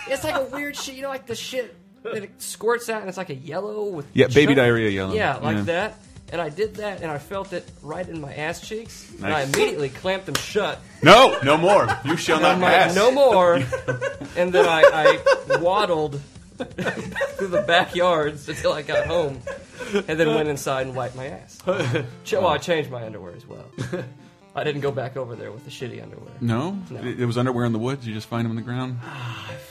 It's like a weird shit, you know, like the shit that it squirts out, and it's like a yellow with Yeah, baby chunk- diarrhea yellow. Yeah, like Yeah. that. And I did that, and I felt it right in my ass cheeks, and I Nice. immediately clamped them <laughs> shut. No, no more. You shall And not I'm <laughs> like, pass. no <laughs> more. and then I, I waddled <laughs> through the backyards until I got home, and then went inside and wiped my <laughs> ass. Ch- well, I changed my underwear as well. I didn't go back over there with the shitty underwear. No, It, it was underwear in the woods. You just find them on the ground.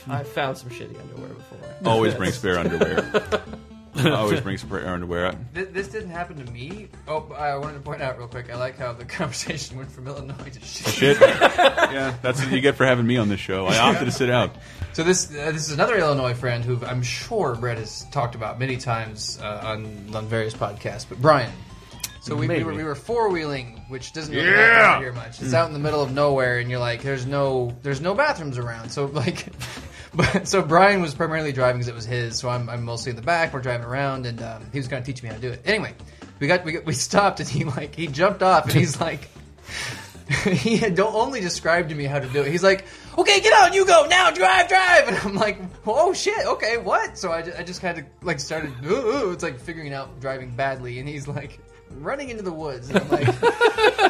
I found some shitty underwear before. <laughs> Always Yes. bring spare underwear. <laughs> Always bring spare underwear. This, this didn't happen to me. Oh, I wanted to point out real quick. I like how the <laughs> conversation went from Illinois to shit. Shit. <laughs> yeah, that's what you get for having me on this show. I opted to sit out. So this uh, this is another Illinois friend who I'm sure Brett has talked about many times uh, on on various podcasts. But Brian, so we, we Maybe. were we were four wheeling, which doesn't really Yeah! happen out here much. It's Mm. out in the middle of nowhere, and you're like, there's no there's no bathrooms around. So like, <laughs> but so Brian was primarily driving because it was his. So I'm I'm mostly in the back. We're driving around, and um, he was going to teach me how to do it. Anyway, we got we got, we stopped, and he like he jumped off, and he's like. <laughs> he had don't only described to me how to do it. He's like, "Okay, get out, you go now, drive, drive." And I'm like, "Oh shit, okay, what?" So I, ju- I just kind of like started. Ooh, ooh, it's like figuring out driving badly, and he's like running into the woods. And I'm like,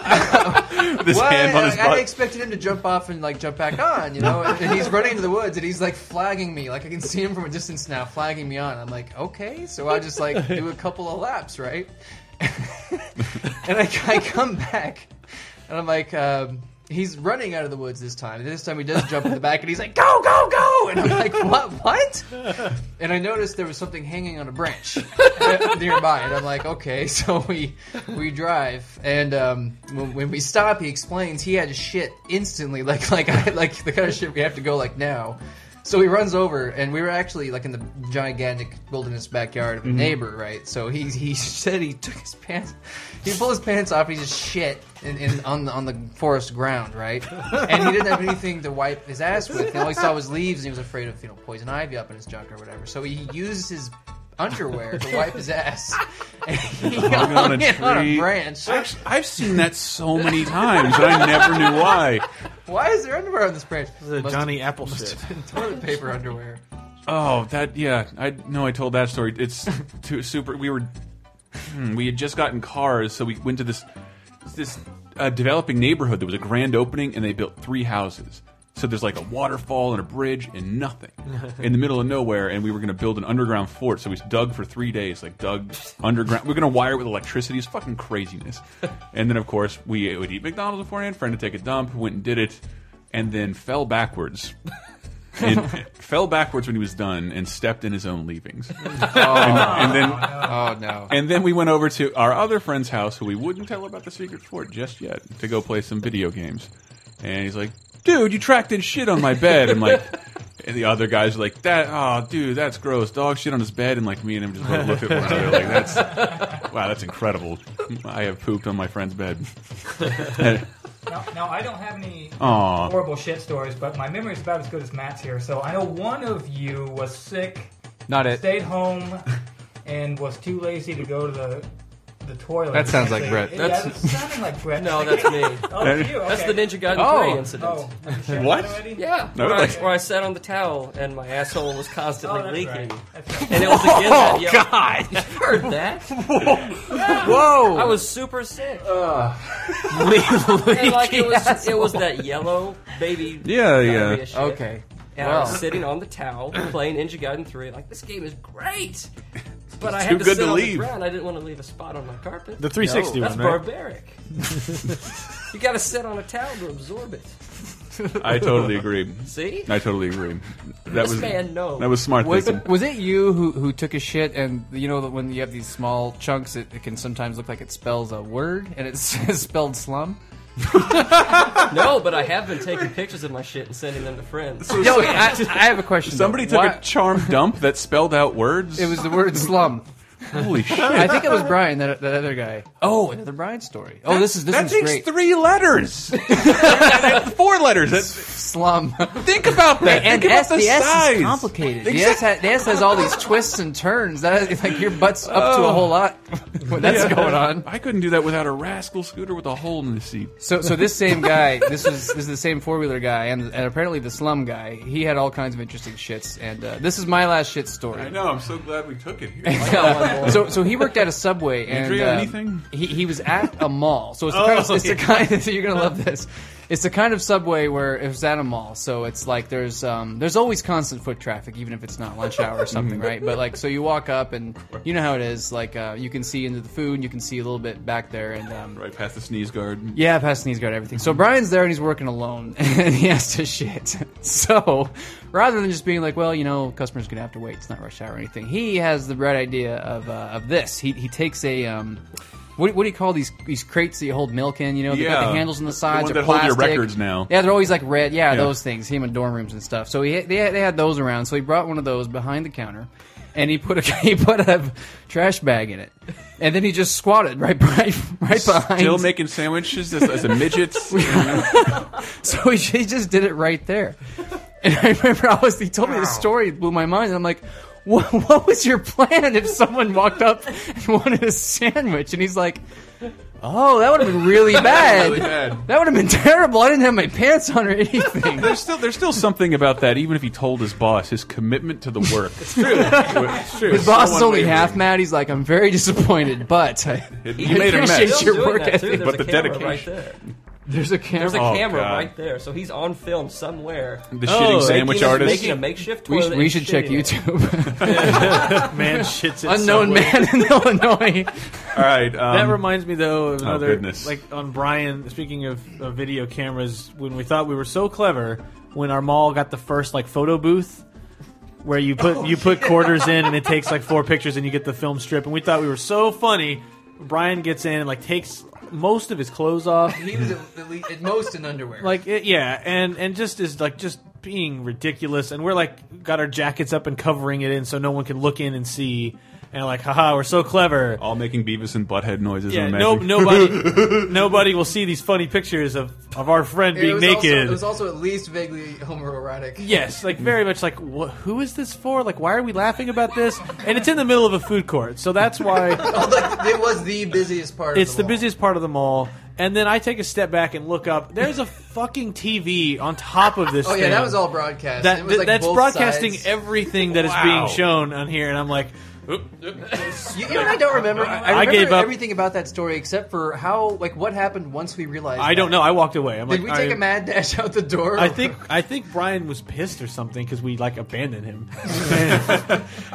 This "What?" hand on his I, I butt. expected him to jump off and like jump back on, <laughs> you know. and, and he's running into the woods, and he's like flagging me. Like I can see him from a distance now, flagging me on. I'm like, "Okay." So I just like do a couple of laps, right? <laughs> and I, I come back, and I'm like, um, he's running out of the woods this time. And this time he does jump in the back, and he's like, go, go, go! And I'm like, what, what? And I noticed there was something hanging on a branch nearby, and I'm like, okay. <laughs> So we we drive, and um, when, when we <laughs> stop, he explains he had shit instantly, like like I, like the kind of shit we have to go like now. So he runs over, and we were actually like in the gigantic wilderness backyard of a Mhm. neighbor, right? So he he <laughs> said he took his pants, he pulled his pants off, he just shit in, in, on the on the forest ground, right? And he didn't have anything to wipe his ass with. And all he saw was leaves, and he was afraid of you know poison ivy up in his junk or whatever. So he used his underwear to wipe his ass. <laughs> And he Hung on a it on a tree. branch. Actually, I've seen that so many times, and I never knew why. Why is there underwear on this branch? The Must- Johnny Apple must shit. have been toilet paper underwear. Oh, that yeah. I no, I told that story. It's too super. We were hmm, we had just gotten cars, so we went to this this uh, developing neighborhood. There was a grand opening, and they built three houses. So there's like a waterfall and a bridge and nothing in the middle of nowhere, and we were going to build an underground fort. So we dug for three days, like dug underground. We are going to wire it with electricity. It's fucking craziness. And then of course we would eat McDonald's beforehand. Friend to take a dump, went and did it, and then fell backwards and <laughs> fell backwards when he was done and stepped in his own <laughs> leavings. and, and then, oh no! And then we went over to our other friend's house, who we wouldn't tell about the secret fort just yet, to go play some video games. And he's like, "Dude, you tracked in shit on my bed." I'm like. And the other guys are like, "That, oh, dude, that's gross. Dog shit on his bed." And like me and him just both look at one another, like, "That's, wow, that's incredible. I have pooped on my friend's <laughs> bed." <laughs> Now, now I don't have any Aw. horrible shit stories, but my memory is about as good as Matt's here. So I know one of you was sick, Not it. stayed home, <laughs> and was too lazy to go to the the toilet. That sounds like Actually, Brett. it- That's- yeah, it's sounding like Brett. No, that's me. <laughs> oh, it's you. That's the okay. Ninja Gaiden Oh. 3 incident. Oh, have you shared What? that already? <laughs> Yeah, No, where, like- I, where I sat on the towel and my asshole was constantly Oh, that's <laughs> leaking, right. and it was again that. Oh, yellow- God. you heard that? Whoa. I was super sick. leaky and like it was, it asshole. was that yellow baby. Yeah, yeah. diarrhea shit. Okay. And I Wow. was sitting on <clears throat> the towel playing Ninja Gaiden 3, like this game is great. But I It's had too to good sit to on leave. the ground. I didn't want to leave a spot on my carpet. The 360 no, one, That's right? barbaric. you got to sit on a towel to absorb it. I totally agree. See? I totally agree. That This was <laughs> man Oh. knows. That was smart Was, thinking. was it you who, who took a shit and you know that when you have these small chunks, it, it can sometimes look like it spells a word and it's <laughs> spelled slum. no, but I have been taking pictures of my shit and sending them to friends. Yo, I, I have a question. though. Somebody took Why- a <laughs> charm dump that spelled out words. It was the word slum. <laughs> Holy shit! I think it was Brian, that, that other guy. Oh, another Brian story. Oh, this is this that is takes great. three <laughs> letters, four letters. slum. Think <laughs> about that. And think S, about the, the, S size. is complicated. The Exact- S, has, the S has all these twists and turns. That is, like your butt's up to a whole lot <laughs> when that's Oh. Yeah. going on. I couldn't do that without a rascal scooter with a hole in the seat. So, so this same guy, this is this is the same four wheeler guy, and, and apparently the slum guy. He had all kinds of interesting shits, and uh, this is my last shit story. I know. I'm so glad we took it <laughs> No, here. <laughs> so, so he worked at a subway, Andrea, and um, anything? He, he was at a mall. So it's the <laughs> Oh, kind of, it's the yeah. kind of- <laughs> you're gonna love this. It's the kind of subway where it was at a mall, so it's like there's um, there's always constant foot traffic, even if it's not lunch hour or something, Mm-hmm. Mhm. right? But like, so you walk up, and you know how it is. Like, uh, you can see into the food, you can see a little bit back there, and um, right past the sneeze guard. yeah, past the knees guard, everything. So Brian's there and he's working alone <laughs> and he has to shit. <laughs> So rather than just being like, well, you know, customers gonna have to wait, it's not rush hour or anything. He has the bright idea of uh, of this. He he takes a um, what, what do you call these these crates that you hold milk in? You know, they got Yeah. the handles on the The sides. ones they're that hold your plastic. records now. Yeah, they're always like red. Yeah, Yeah. those things. Him in dorm rooms and stuff. So he they had, they had those around. So he brought one of those behind the counter, and he put a <laughs> he put a trash bag in it, and then he just squatted right <laughs> right right behind. Still making sandwiches as, as a <laughs> midget. Mm, So he, he just did it right there. And I remember I was, he told me the story, it blew my mind. And I'm like, what, what was your plan if someone walked up and wanted a sandwich? And he's like, oh, that would have been really bad. Really bad. That would have been terrible. I didn't have my pants on or anything. There's still there's still something about that. Even if he told his boss, his commitment to the <laughs> work. it's true. It's true. His boss So is only unwavering. half mad. He's like, I'm very disappointed, but I, You made a appreciate mess. your work that, ethic. too. There's a camera right there. There's a camera. There's a Oh, camera God. right there, so he's on film somewhere. The Oh, shitting sandwich making a- artist. making a makeshift We, toilet. sh- we should check YouTube. Man shits at <laughs> Unknown Subway. man in Illinois. All right. Um, that reminds me though of oh, another goodness. like on Brian. Speaking of, of video cameras, when we thought we were so clever, when our mall got the first like photo booth. Where you put you put quarters in and it takes like four pictures and you get the film strip and we thought we were so funny. Brian gets in and like takes most of his clothes off He was at, the le- at most in underwear. like it, yeah and and just is like just being ridiculous, and we're like got our jackets up and covering it in so no one can look in and see. And like, haha, we're so clever. All making Beavis and Butthead noises. Yeah, and no, magic. nobody, nobody will see these funny pictures of, of our friend it being was naked. Also, it was also at least vaguely homoerotic. <laughs> Yes, like very much like wh- who is this for? Like why are we laughing about this? And it's in the middle of a food court, so that's <laughs> why Like, it was the busiest part. it's of the the, mall. busiest part of the mall. And then I take a step back and look up. There's a fucking TV on top of this. Oh yeah, thing. that was all broadcast. That- it was, like, that's both broadcasting sides. everything that is Wow. being shown on here, and I'm like, oop, oop. You, you know what I don't remember. I, remember gave up. everything about that story except for how, like, what happened once we realized. I don't know. I walked away. I'm Did like, we take I- a mad dash out the door? I think I think Brian was pissed or something because we like abandoned <laughs> him.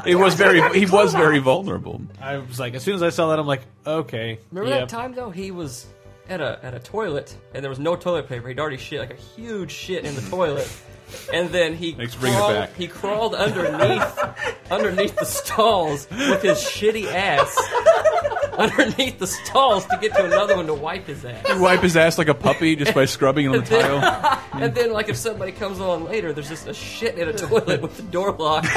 it was very he was very vulnerable. I was like, as soon as I saw that, I'm like, okay, Remember yep. that time though? He was at a at a toilet and there was no toilet paper. He'd already shit like a huge <laughs> shit in the toilet, and then he Thanks for bringing it crawled, back. he <laughs> crawled underneath underneath the stalls with his shitty <laughs> ass underneath the stalls to get to another one to wipe his ass. You wipe his ass like a puppy just by scrubbing it on the tile. and then, like, if somebody comes on later, there's just a <laughs> shit in a toilet with the door locked <laughs>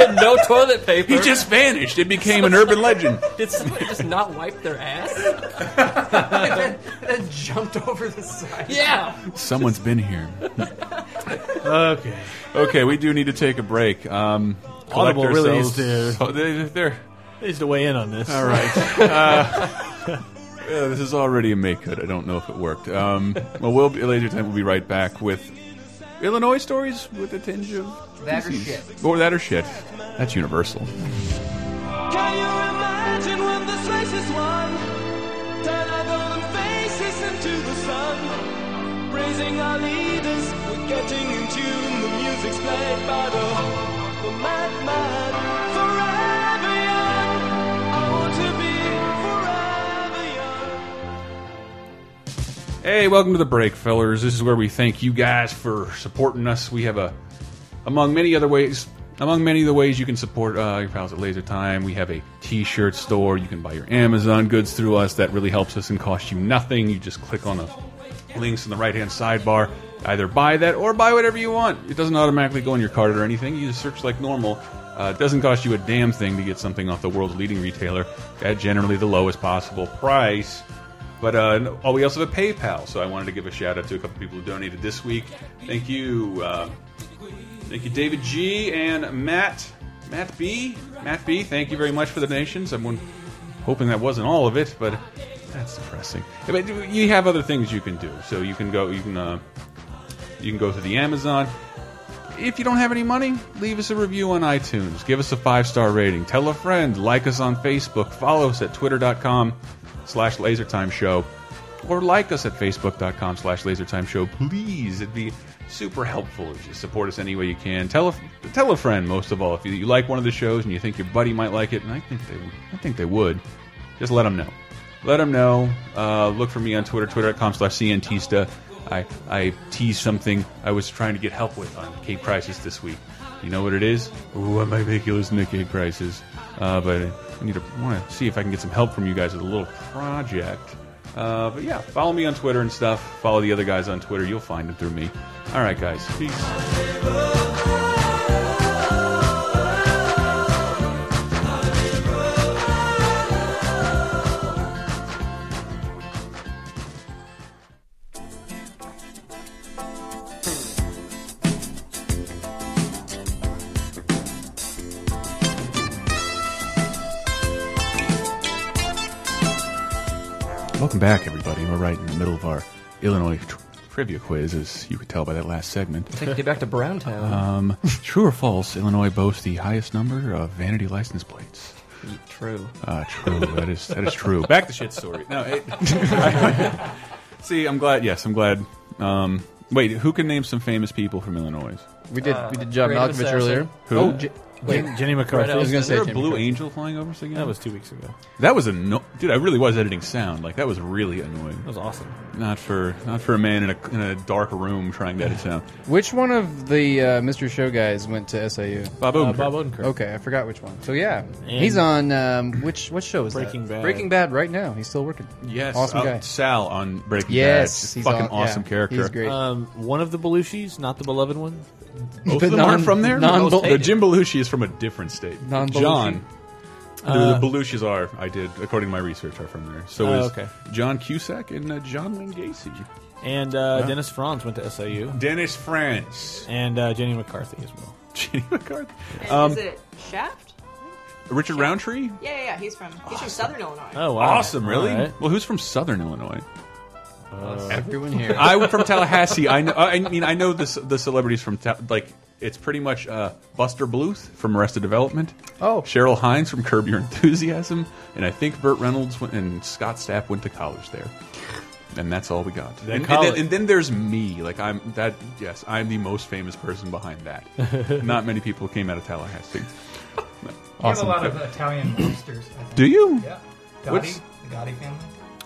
and no toilet <laughs> paper. He just vanished. It became an urban legend. Did somebody just not wipe their ass? and, then, <laughs> and then jumped over the side. Yeah. Someone's been here. <laughs> okay. Okay, we do need to take a break. Um, collect Audible really needs ourselves- to. <laughs> So they, they're They need to weigh in on this. all right. Uh, yeah, this is already a make good. I don't know if it worked. Um, well, we'll be, later time. We'll be right back with Illinois stories with a tinge of That or feces. shit. or that or shit. That's universal. Can you imagine when this race is won? Turn our golden faces into the sun. Raising our leaders, we're getting in tune. The music's played by the, the madman. Forever young, I want to be forever young. Hey, welcome to the break, fellers. This is where we thank you guys for supporting us. We have a, among many other ways, among many of the ways you can support uh, your pals at Laser Time, we have a T-shirt store. You can buy your Amazon goods through us. That really helps us and costs you nothing. You just click on the links in the right-hand sidebar. Either buy that or buy whatever you want. It doesn't automatically go in your cart or anything. You just search like normal. Uh, it doesn't cost you a damn thing to get something off the world's leading retailer at generally the lowest possible price. But uh, oh, we also have a PayPal, so I wanted to give a shout out to a couple people who donated this week. Thank you, uh, thank you, David G and Matt, Matt B, Matt B. Thank you very much for the donations. I'm hoping that wasn't all of it, but that's depressing. But you have other things you can do, so you can go, you can, uh, you can go to the Amazon. If you don't have any money, leave us a review on iTunes. Give us a five star rating. Tell a friend. Like us on Facebook. Follow us at twitter.com slash lasertime show. Or like us at facebook.com slash lasertime show. Please, it'd be super helpful if you support us any way you can. Tell a, tell a friend, most of all. If you, you like one of the shows and you think your buddy might like it, and I think they, I think they would, just let them know. Let them know. Uh, look for me on Twitter, twitter.com slash cntista. I, I teased something I was trying to get help with on Cape Crisis this week. You know what it is? Ooh, I might make you listen to Cape Crisis. Uh, but I need to want to see if I can get some help from you guys with a little project. Uh, but yeah, follow me on Twitter and stuff. Follow the other guys on Twitter. You'll find them through me. All right, guys. Peace. Welcome back, everybody. We're right in the middle of our Illinois tr trivia quiz, as you could tell by that last segment. Take you back to Browntown. Um, true or false, Illinois boasts the highest number of vanity license plates. True. Uh, true. That is that is true. Back to shit story. No. It, I- <laughs> see, I'm glad. Yes, I'm glad. Um, wait, who can name some famous people from Illinois? We did we did Uh, John Creative Malkovich Assassin. earlier. Who? Oh, J <laughs> Wait, Jenny McCarthy. I was gonna say Is there a Jenny Blue McCarthy. Angel flying over us again? That was two weeks ago. That was anno dude. I really was editing sound. Like that was really annoying. That was awesome. Not for not for a man in a in a dark room trying to edit <laughs> sound. Which one of the uh, Mr. Show guys went to SAU? Bob Uh, Odenkirk. Bob Odenkirk. Okay, I forgot which one. So yeah, And- he's on um, which what show is Breaking that? Bad. Breaking Bad right now. He's still working. Yes, awesome uh, guy. Sal on Breaking Yes, Bad. Just he's fucking on- yeah, awesome character. Uh, he's great. Um, one of the Belushis, not the beloved one. Both of them aren't from there. No, no, Jim Belushi is from a different state. Non-Belushi? John. Uh, the, the Belushis are, I did, according to my research, are from there. So Oh, is okay. John Cusack and uh, John Wayne Gacy. And uh, Yeah. Dennis Franz went to SAU. Dennis <laughs> Franz and uh, Jenny McCarthy as well. Jenny McCarthy. is it Shaft? Richard Roundtree? Yeah, yeah, yeah. He's from he's from Southern Illinois. Oh, wow. Awesome, really? All right. Well, who's from Southern Illinois? everyone here. I'm from Tallahassee. I know. I mean, I know the ce- the celebrities from Ta like it's pretty much uh, Buster Bluth from Arrested Development. Oh, Cheryl Hines from Curb Your Enthusiasm, and I think Burt Reynolds went, and Scott Stapp went to college there. And that's all we got. The And, and college- then, and then there's me. Like I'm that. Yes, I'm the most famous person behind <laughs> that. Not many people came out of Tallahassee. We have a lot of <clears throat> Italian monsters. I think. Do you? Yeah. What's- Gotti, the Gotti family.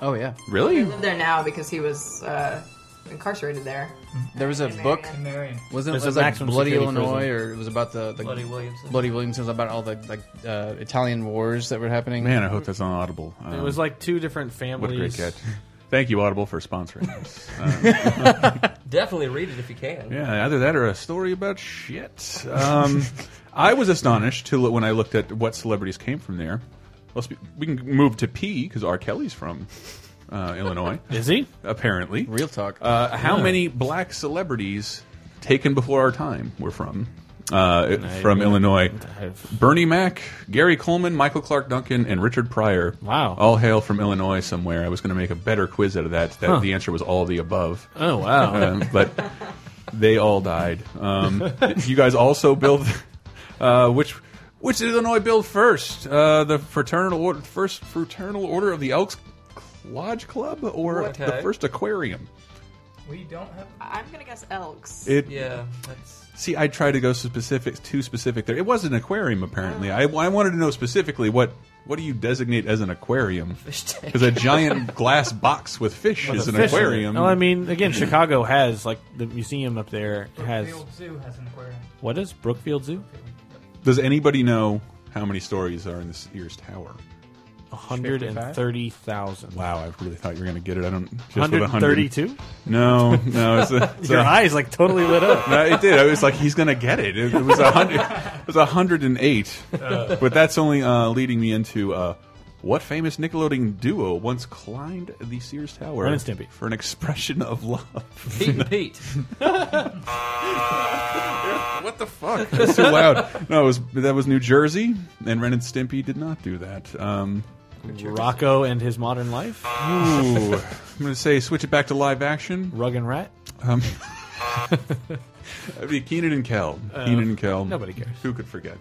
Oh yeah. Really? They live there now because he was uh, incarcerated there. There was a In book. Marion. Wasn't it There's was a like maximum Bloody security Illinois, prison. or it was about the, the Bloody Williamson. Bloody Williamson was about all the like uh, Italian wars that were happening. Man, I hope that's on Audible. It Um, was like two different what a great families. catch. Thank you, Audible, for sponsoring <laughs> us. Um, Definitely read it if you can. Yeah, either that or a story about shit. Um, <laughs> I was astonished to when I looked at what celebrities came from there. Let's be, we can move to P because R. Kelly's from uh, Illinois. <laughs> Is he? Apparently. Real talk. Uh, how Yeah. many black celebrities taken before our time were from? Uh, I from don't- Illinois, I've- Bernie Mac, Gary Coleman, Michael Clark Duncan, and Richard Pryor. Wow! All hail from Illinois somewhere. I was going to make a better quiz out of that. That Huh. the answer was all the above. Oh, wow. Um, but they all died. Um, <laughs> you guys also build uh, which which did Illinois build first? Uh, the fraternal order, first fraternal order of the Elks Lodge Club, or Okay. the first aquarium? We don't have. I'm gonna guess Elks. It- Yeah, See, I tried to go so specific, too specific there. It was an aquarium, apparently. I, I wanted to know specifically what what do you designate as an aquarium? tank. Because a giant glass box with fish With is a an fish in it. aquarium. No, Oh, I mean, again, Chicago has like the museum up there has. Brookfield Zoo has an aquarium. What is Brookfield Zoo? Does anybody know how many stories are in this year's tower? One hundred and thirty thousand. Wow, I really thought you were going to get it. I don't. Just with 132? 100. No, no. It's a, <laughs> it's Your a- eyes like totally lit <laughs> up. No, it did. I was like, he's going to get it. It, it was a hundred. It was a hundred and eight. Uh. But that's only uh, leading me into uh, what famous Nickelodeon duo once climbed the Sears Tower Ren and Stimpy. for an expression of love? Pete and Pete. <laughs> what the fuck? That's too loud. No, it was that was New Jersey, and Ren and Stimpy did not do that. Um, Rocco and his modern life. Ooh, I'm going to say switch it back to live action. Rug and Rat. Um, I mean, Keenan and Kel. Uh, Keenan and Kel. nobody cares. Who could forget?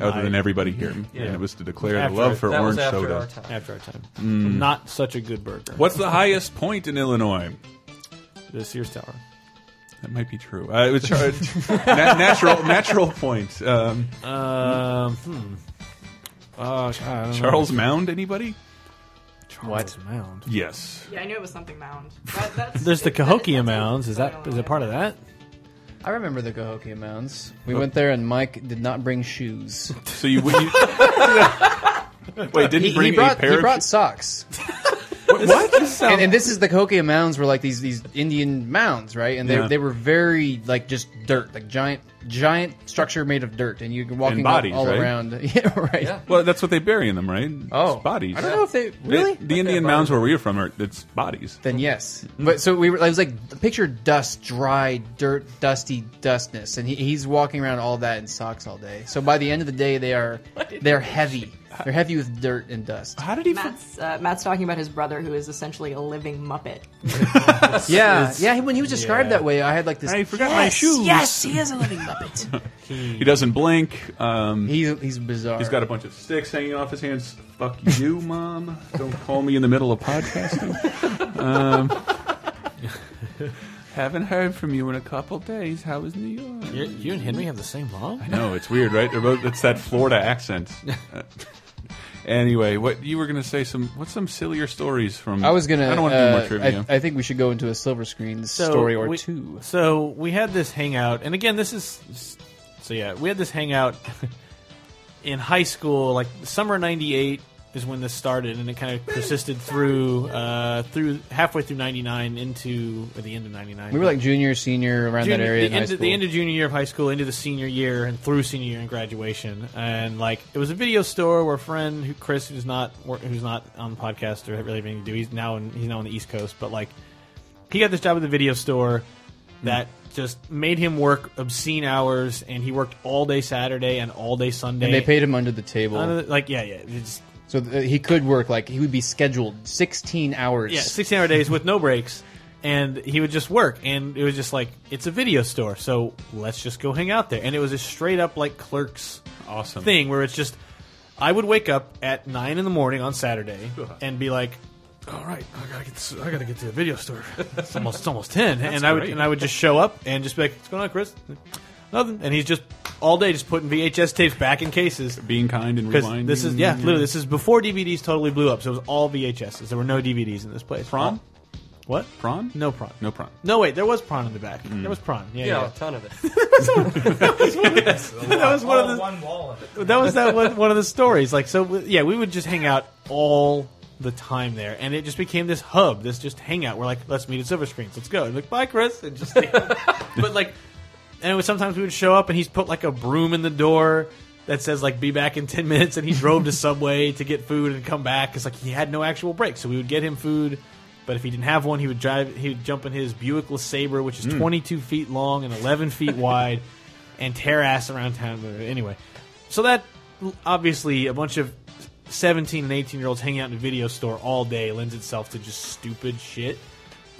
No, Other than I- everybody here. Yeah. And it was to declare After- the love for that was orange after soda. our time. After our time. Mm. Not such a good burger. What's the highest point in Illinois? The Sears Tower. That might be true. Uh, it <laughs> was char- na- natural natural point. Um, Um. Hmm. Uh, God, I don't know. Charles Mound. Anybody? Charles Mound. Yes. Yeah, I knew it was something mound. But that's, There's the Cahokia Mounds. Is that is it part of that? I remember the Cahokia Mounds. We Oh. went there, and Mike did not bring shoes. So you, you wait, didn't he, bring he brought, a pair He of brought shoes? socks. what? and, and this is the Cahokia mounds were like these these Indian mounds, right? And they, Yeah. they were very like just dirt, like giant giant structure made of dirt, and you're walking And bodies, all, all right? around. <laughs> Yeah, right. Well, that's what they bury in them, right? Oh. It's bodies. I don't know if they- really? the Indian mounds where we are from are it's bodies. Then yes, but so we were. I was like, picture dust, dry, dirt, dusty dustness, and he, he's walking around all that in socks all day. So by the end of the day, they are they're heavy. They're heavy with dirt and dust. How did Matt's, uh, Matt's talking about his brother, who is essentially a living Muppet. Yeah, yeah. he- When he was described that way, I had like this. I forgot my Yes, shoes. yes, he is a living <laughs> Muppet. He doesn't blink. Um, he's he's bizarre. He's got a bunch of sticks hanging off his hands. Fuck you, <laughs> mom. Don't call me in the middle of podcasting. <laughs> um, haven't heard from you in a couple days. How is New York? You're, you and Henry have the same mom. No, it's weird, right? They're both, it's that <laughs> Florida accent. Uh, anyway, what you were going to say? Some what's some sillier stories from? I was gonna. I don't want to do more uh, trivia. I, I think we should go into a silver screen story or we, two. So we had this hangout, and again, this is so yeah, we had this hangout <laughs> in high school, like summer '98 is when this started, and it kind of persisted through uh, through halfway through '99 into or the end of '99. We were like junior, senior, around that Junior- area. The, in high end, school. the end of junior year of high school, into the senior year, and through senior year and graduation, and like it was a video store where a friend, who Chris, who's not wor- who's not on the podcast or really have anything to do, he's now in, he's now on the East Coast, but like he got this job at the video store Hmm. that just made him work obscene hours, and he worked all day Saturday and all day Sunday, and they paid him under the table. Under the- like yeah, yeah, it's, so th- he could work like he would be scheduled 16 hours. Yeah, sixteen hour days with no breaks. And he would just work, and it was just like it's a video store, so let's just go hang out there. And it was a straight up like clerks awesome thing where it's just I would wake up at nine in the morning on Saturday Uh-huh. and be like, all right, I gotta get to, I gotta get to the video <laughs> store. It's almost it's almost ten, That's and I would great. and I would just show up and just be like, what's going on, Chris? Nothing, and he's just all day just putting VHS tapes back in cases, being kind and 'Cause rewinding. This is yeah, literally this is before DVDs totally blew up, so it was all VHSs. There were no DVDs in this place. Prawn? What? Prawn? Mm. No prawn. No prawn. No wait, there was prawn in the back. There was prawn. Yeah, yeah. a ton of it. <laughs> that was one of, that was one of All the Oh, one wall of it. that was that one, one of the stories. Like so, w- yeah, we would just hang out all the time there, and it just became this hub, this just hangout. We're like, let's meet at Silver Screens, let's go. And like, bye, Chris, and just <laughs> but like, and it was sometimes we would show up, and he's put like a broom in the door. That says like be back in ten minutes, and he drove to Subway to get food and come back. It's like he had no actual break, so we would get him food, but if he didn't have one, he would drive. He would jump in his Buick LeSabre, which is Mm. twenty two feet long and eleven feet wide, and tear ass around town. But anyway, so that obviously a bunch of 17 and 18 year olds hanging out in a video store all day lends itself to just stupid shit.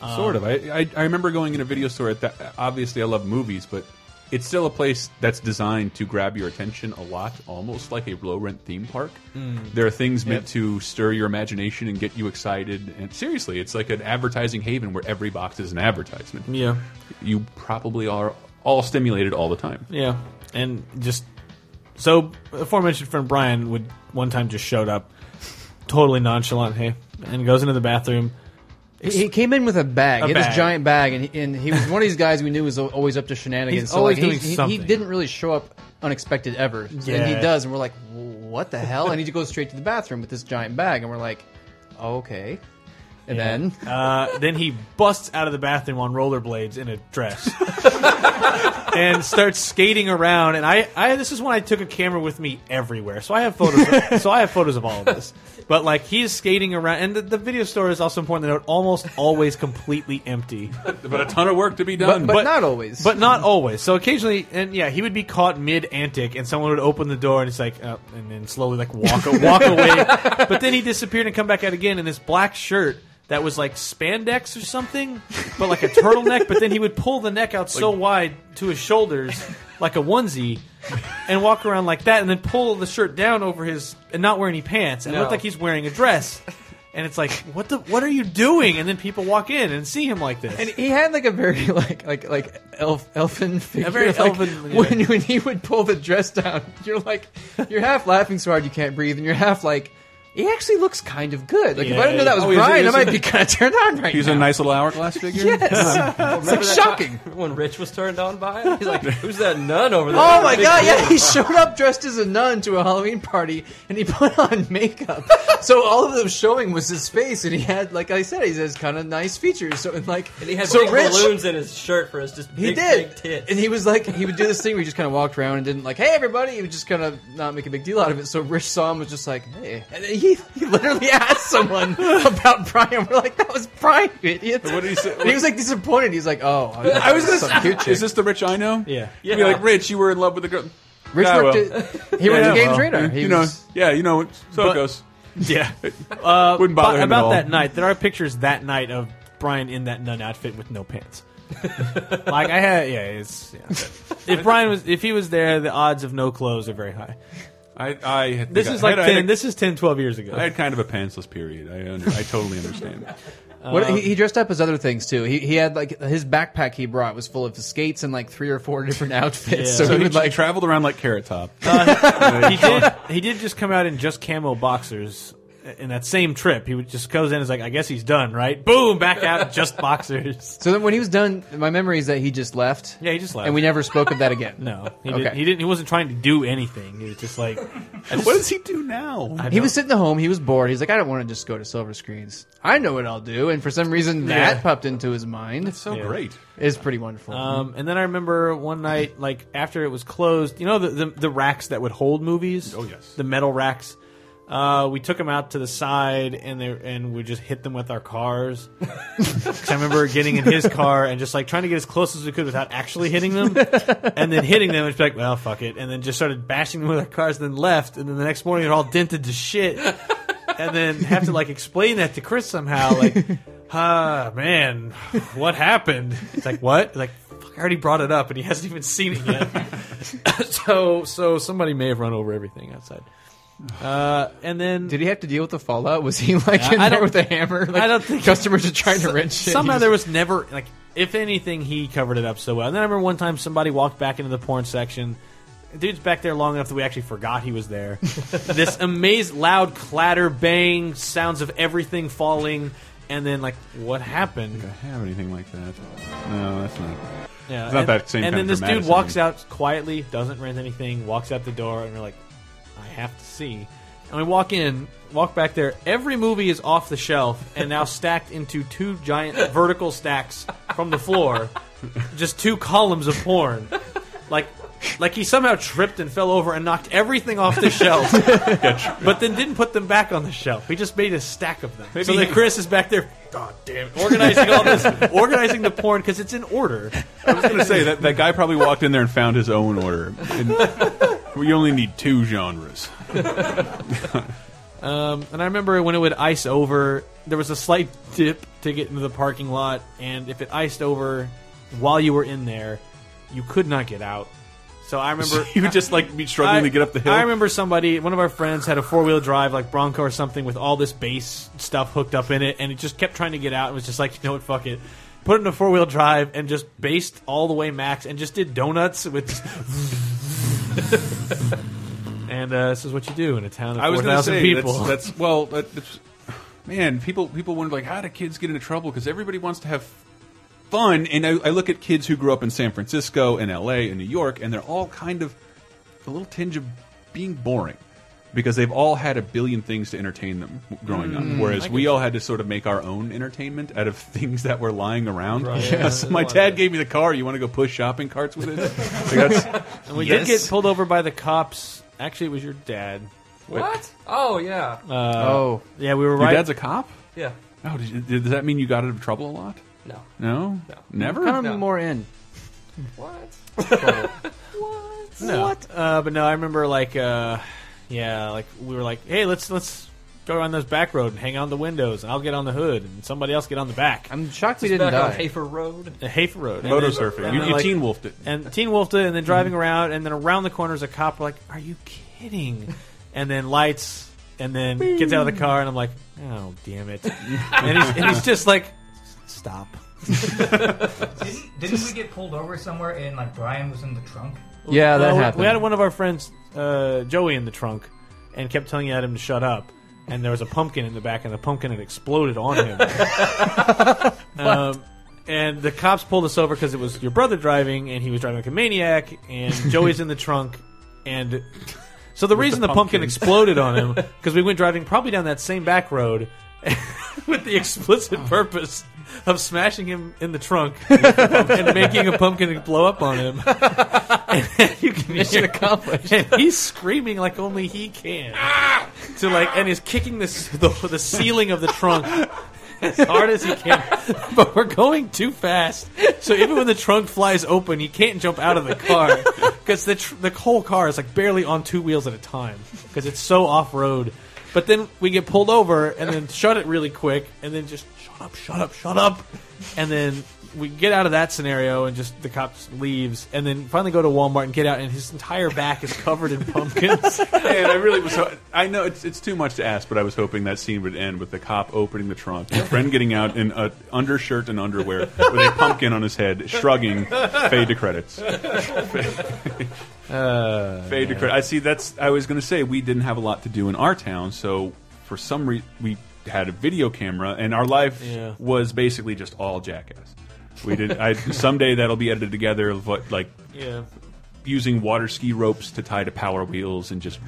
Um, sort of. I, I I remember going in a video store at that. Obviously, I love movies, but it's still a place that's designed to grab your attention a lot, almost like a low rent theme park. Hmm. Mm. There are things meant Yep. to stir your imagination and get you excited. And seriously, it's like an advertising haven where every box is an advertisement. Yeah. you probably are all stimulated all the time. Yeah, and just so aforementioned friend Brian would one time just showed up, totally nonchalant, hey, and goes into the bathroom. He, he came in with a bag. A he had bag. this giant bag, and he, and he was one of these guys we knew was al- always up to shenanigans. He's so always like, he- doing he, he something. didn't really show up unexpected ever. And he Yeah. does, and we're like, what the hell? And he goes straight to the bathroom with this giant bag, and we're like, okay. And Yeah. then uh, then he busts out of the bathroom on rollerblades in a dress and starts skating around. And I, I this is when I took a camera with me everywhere, so I have photos. Of, so I have photos of all of this. But like he is skating around, and the, the video store is also important to note, almost always completely empty. But a ton of work to be done. but not always. But not always. So occasionally, and yeah, he would be caught mid antic, and someone would open the door, and it's like, uh, and then slowly like <laughs> walk walk away. But then he disappeared and come back out again in this black shirt that was like spandex or something, but like a turtleneck. But then he would pull the neck out so wide to his shoulders, like a onesie, and walk around like that, and then pull the shirt down over his and not wear any pants, and it looked No. like he's wearing a dress. And it's like, what the? What are you doing? And then people walk in and see him like this. And he had like a very like like like elf elfin figure. very <laughs> like, elfin- When when he would pull the dress down, you're like you're half laughing so hard you can't breathe, and you're half like he actually looks kind of good. Like if I didn't know that was Oh, he's a- Brian, I he's a- might be kind of turned on right He's now. a nice little hourglass figure. Yes. Remember It's like that shocking. time When Rich was turned on by it, he's like, "Who's that nun over there?" Oh my Big god! Yeah, deal. he showed up dressed as a nun to a Halloween party, and he put on makeup. so all of them showing was his face, and he had, like I said, he has kind of nice features. So and like, And he had so big Rich, balloons in his shirt for us. Just He big, did, Big tits. and he was like, he would do this thing where he just kind of walked around and didn't like, hey everybody. He would just kind of not make a big deal out of it. So Rich saw him was just like, hey, and then he, he literally <laughs> asked someone about Brian. We're like, that was Brian, you idiots. What did he say? And he was like disappointed. He's like, oh, <laughs> I was this gonna some say, cute chick. is this the Rich I know? Yeah. You'd be Yeah. like, Rich, you were in love with the girl. Rich Ah, worked well. at- he worked at Games Radar. He you know, was- yeah, you know, so But- it goes. Yeah. Uh, Wouldn't bother but him at about all. that night. There are pictures that night of Brian in that nun outfit with no <laughs> pants. like I had, yeah. It's yeah. if Brian was if he was there, the odds of no clothes are very high. I, I had- this I is like had- I had ten. a- this is 10, 12 years ago. <laughs> I had kind of a pantsless period. I under, I totally understand. What, Um, he, he dressed up as other things too. He, he had like his backpack he brought was full of skates and like three or four <laughs> different outfits. So, he would like traveled around like <laughs> Carrot Top. Uh, he did. He did just come out in just camo boxers in that same trip. He would just goes in and is like, I guess he's done, right? Boom, back out in just boxers. So then when he was done, my memory is that he just left. Yeah, he just left. and we never spoke of that again. No, he Okay. didn't. He didn't. He wasn't trying to do anything. He was just <laughs> like, I just- what does he do now? I He don't- was sitting at home. He was bored. He's like, I don't want to just go to silver screens. I know what I'll do. And for some reason, that Yeah. popped into his mind. It's so Yeah. great. It's pretty wonderful. Um, and then I remember one night, like after it was closed, you know the the, the racks that would hold movies. Oh yes, the metal racks. Uh, we took them out to the side, and they and we just hit them with our <laughs> cars. 'Cause I remember getting in his car and just like trying to get as close as we could without actually hitting <laughs> them, and then hitting them and just be like, well, fuck it, and then just started bashing them with our cars, and then left, and then the next morning they're all dented to shit, and then have to like explain that to Chris somehow, like. <laughs> Ah, man, what happened? It's like, what? Like, fuck, I already brought it up and he hasn't even seen it yet. <laughs> so, so somebody may have run over everything outside. Uh, and then. Did he have to deal with the fallout? Was he like I- in I there don't- with a hammer? Like, I don't think. customers are trying to rent shit. Somehow He there was never, like, if anything, he covered it up so well. And then I remember one time somebody walked back into the porn section. Dude's back there long enough that we actually forgot he was there. this amazed loud clatter, bang, sounds of everything falling, and then like what happened? I have anything like that? No, that's not. Yeah, it's not and, that same. And kind then of this dude dramatic walks out quietly, doesn't rent anything, walks out the door, and we're like, I have to see. And we walk in, walk back there. Every movie is off the shelf and <laughs> now stacked into two giant vertical stacks from the floor, just two columns of porn, like. Like he somehow tripped and fell over and knocked everything off the <laughs> shelf, but then didn't put them back on the shelf. He just made a stack of them. so Maybe- that Chris is back there, god damn, it, organizing all this, organizing the porn because it's in order. I was going to say that that guy probably walked in there and found his own order. <laughs> And we only need two genres. Um, and I remember when it would ice over, there was a slight dip to get into the parking lot, and if it iced over while you were in there, you could not get out. So I remember <laughs> you would just like be struggling I- to get up the hill. I remember somebody, one of our friends, had a four wheel drive like Bronco or something with all this bass stuff hooked up in it, and it just kept trying to get out. and was just like, you know what, fuck it. Put it in a four wheel drive and just based all the way max, and just did donuts with. <laughs> and uh, this is what you do in a town of I was four going to thousand say people. That's, that's well, that, that's, man. People people wonder like how do kids get into trouble because everybody wants to have fun, and I, I look at kids who grew up in San Francisco and L.A. and New York, and they're all kind of a little tinge of being boring because they've all had a billion things to entertain them growing Mm, up, I whereas get we all had to sort of make our own entertainment out of <laughs> things that were lying around. Right. Yeah. <laughs> So my dad gave me the car. You want to go push shopping carts with <laughs> it? Like, that's- and we Yes. did get pulled over by the cops. Actually, it was your dad. What? Oh yeah. Uh, oh. yeah, we were Your right. dad's a cop. Yeah. Oh, did you, did, does that mean you got out of trouble a lot? No. No. No. Never. Come more in. What? No. Uh, but no, I remember like, uh, yeah, like we were like, hey, let's let's go around this back road and hang on the windows, and I'll get on the hood, and somebody else get on the back. I'm shocked we Just didn't back on die. Hafer Road. The Hafer Road, And Motor then- surfing. and You- then, Mm-hmm. you teen wolfed it. and teen wolfed it, and then driving around, and then around the corner is a cop. Like, are you <laughs> kidding? and then lights, and then gets out of the car, and I'm like, oh damn <laughs> it! and, he's, and he's just like, stop. Didn't, didn't we get pulled over somewhere and like Brian was in the trunk? Yeah, that Well, we- happened. We had one of our friends, uh, Joey, in the trunk, and kept telling him to shut up. And there was a pumpkin in the back, and the pumpkin had exploded on him. <laughs> um, and the cops pulled us over because it was your brother driving, and he was driving like a maniac. And Joey's in the trunk, and so the reason the, pumpkin. pumpkin. exploded on him because we went driving probably down that same back road <laughs> with the explicit purpose of smashing him in the trunk and making a pumpkin blow up on him. And <laughs> you can Mission hear- accomplished. And he's screaming like only he can. To like, and he's kicking this the, the ceiling of the trunk as hard as he can. <laughs> But we're going too fast, so even when the trunk flies open, he can't jump out of the <laughs> car because the tr- the whole car is like barely on two wheels at a time because it's so off road. But then we get pulled over and then shut it really quick and then just shut up, shut up, shut up. And then we get out of that scenario and just the cop just leaves and then finally go to Walmart and get out and his entire back is covered in <laughs> pumpkins. and I really was. ho- I know it's it's too much to ask, but I was hoping that scene would end with the cop opening the trunk, a friend getting out in a undershirt and underwear with a pumpkin on his head, shrugging. Fade to credits. Fade to credit. I see. That's. I was going to say we didn't have a lot to do in our town, so for some reason we had a video camera, and our life Yeah. was basically just all jackass. We did. I someday that'll be edited together. of What like Yeah. using water ski ropes to tie to power wheels and just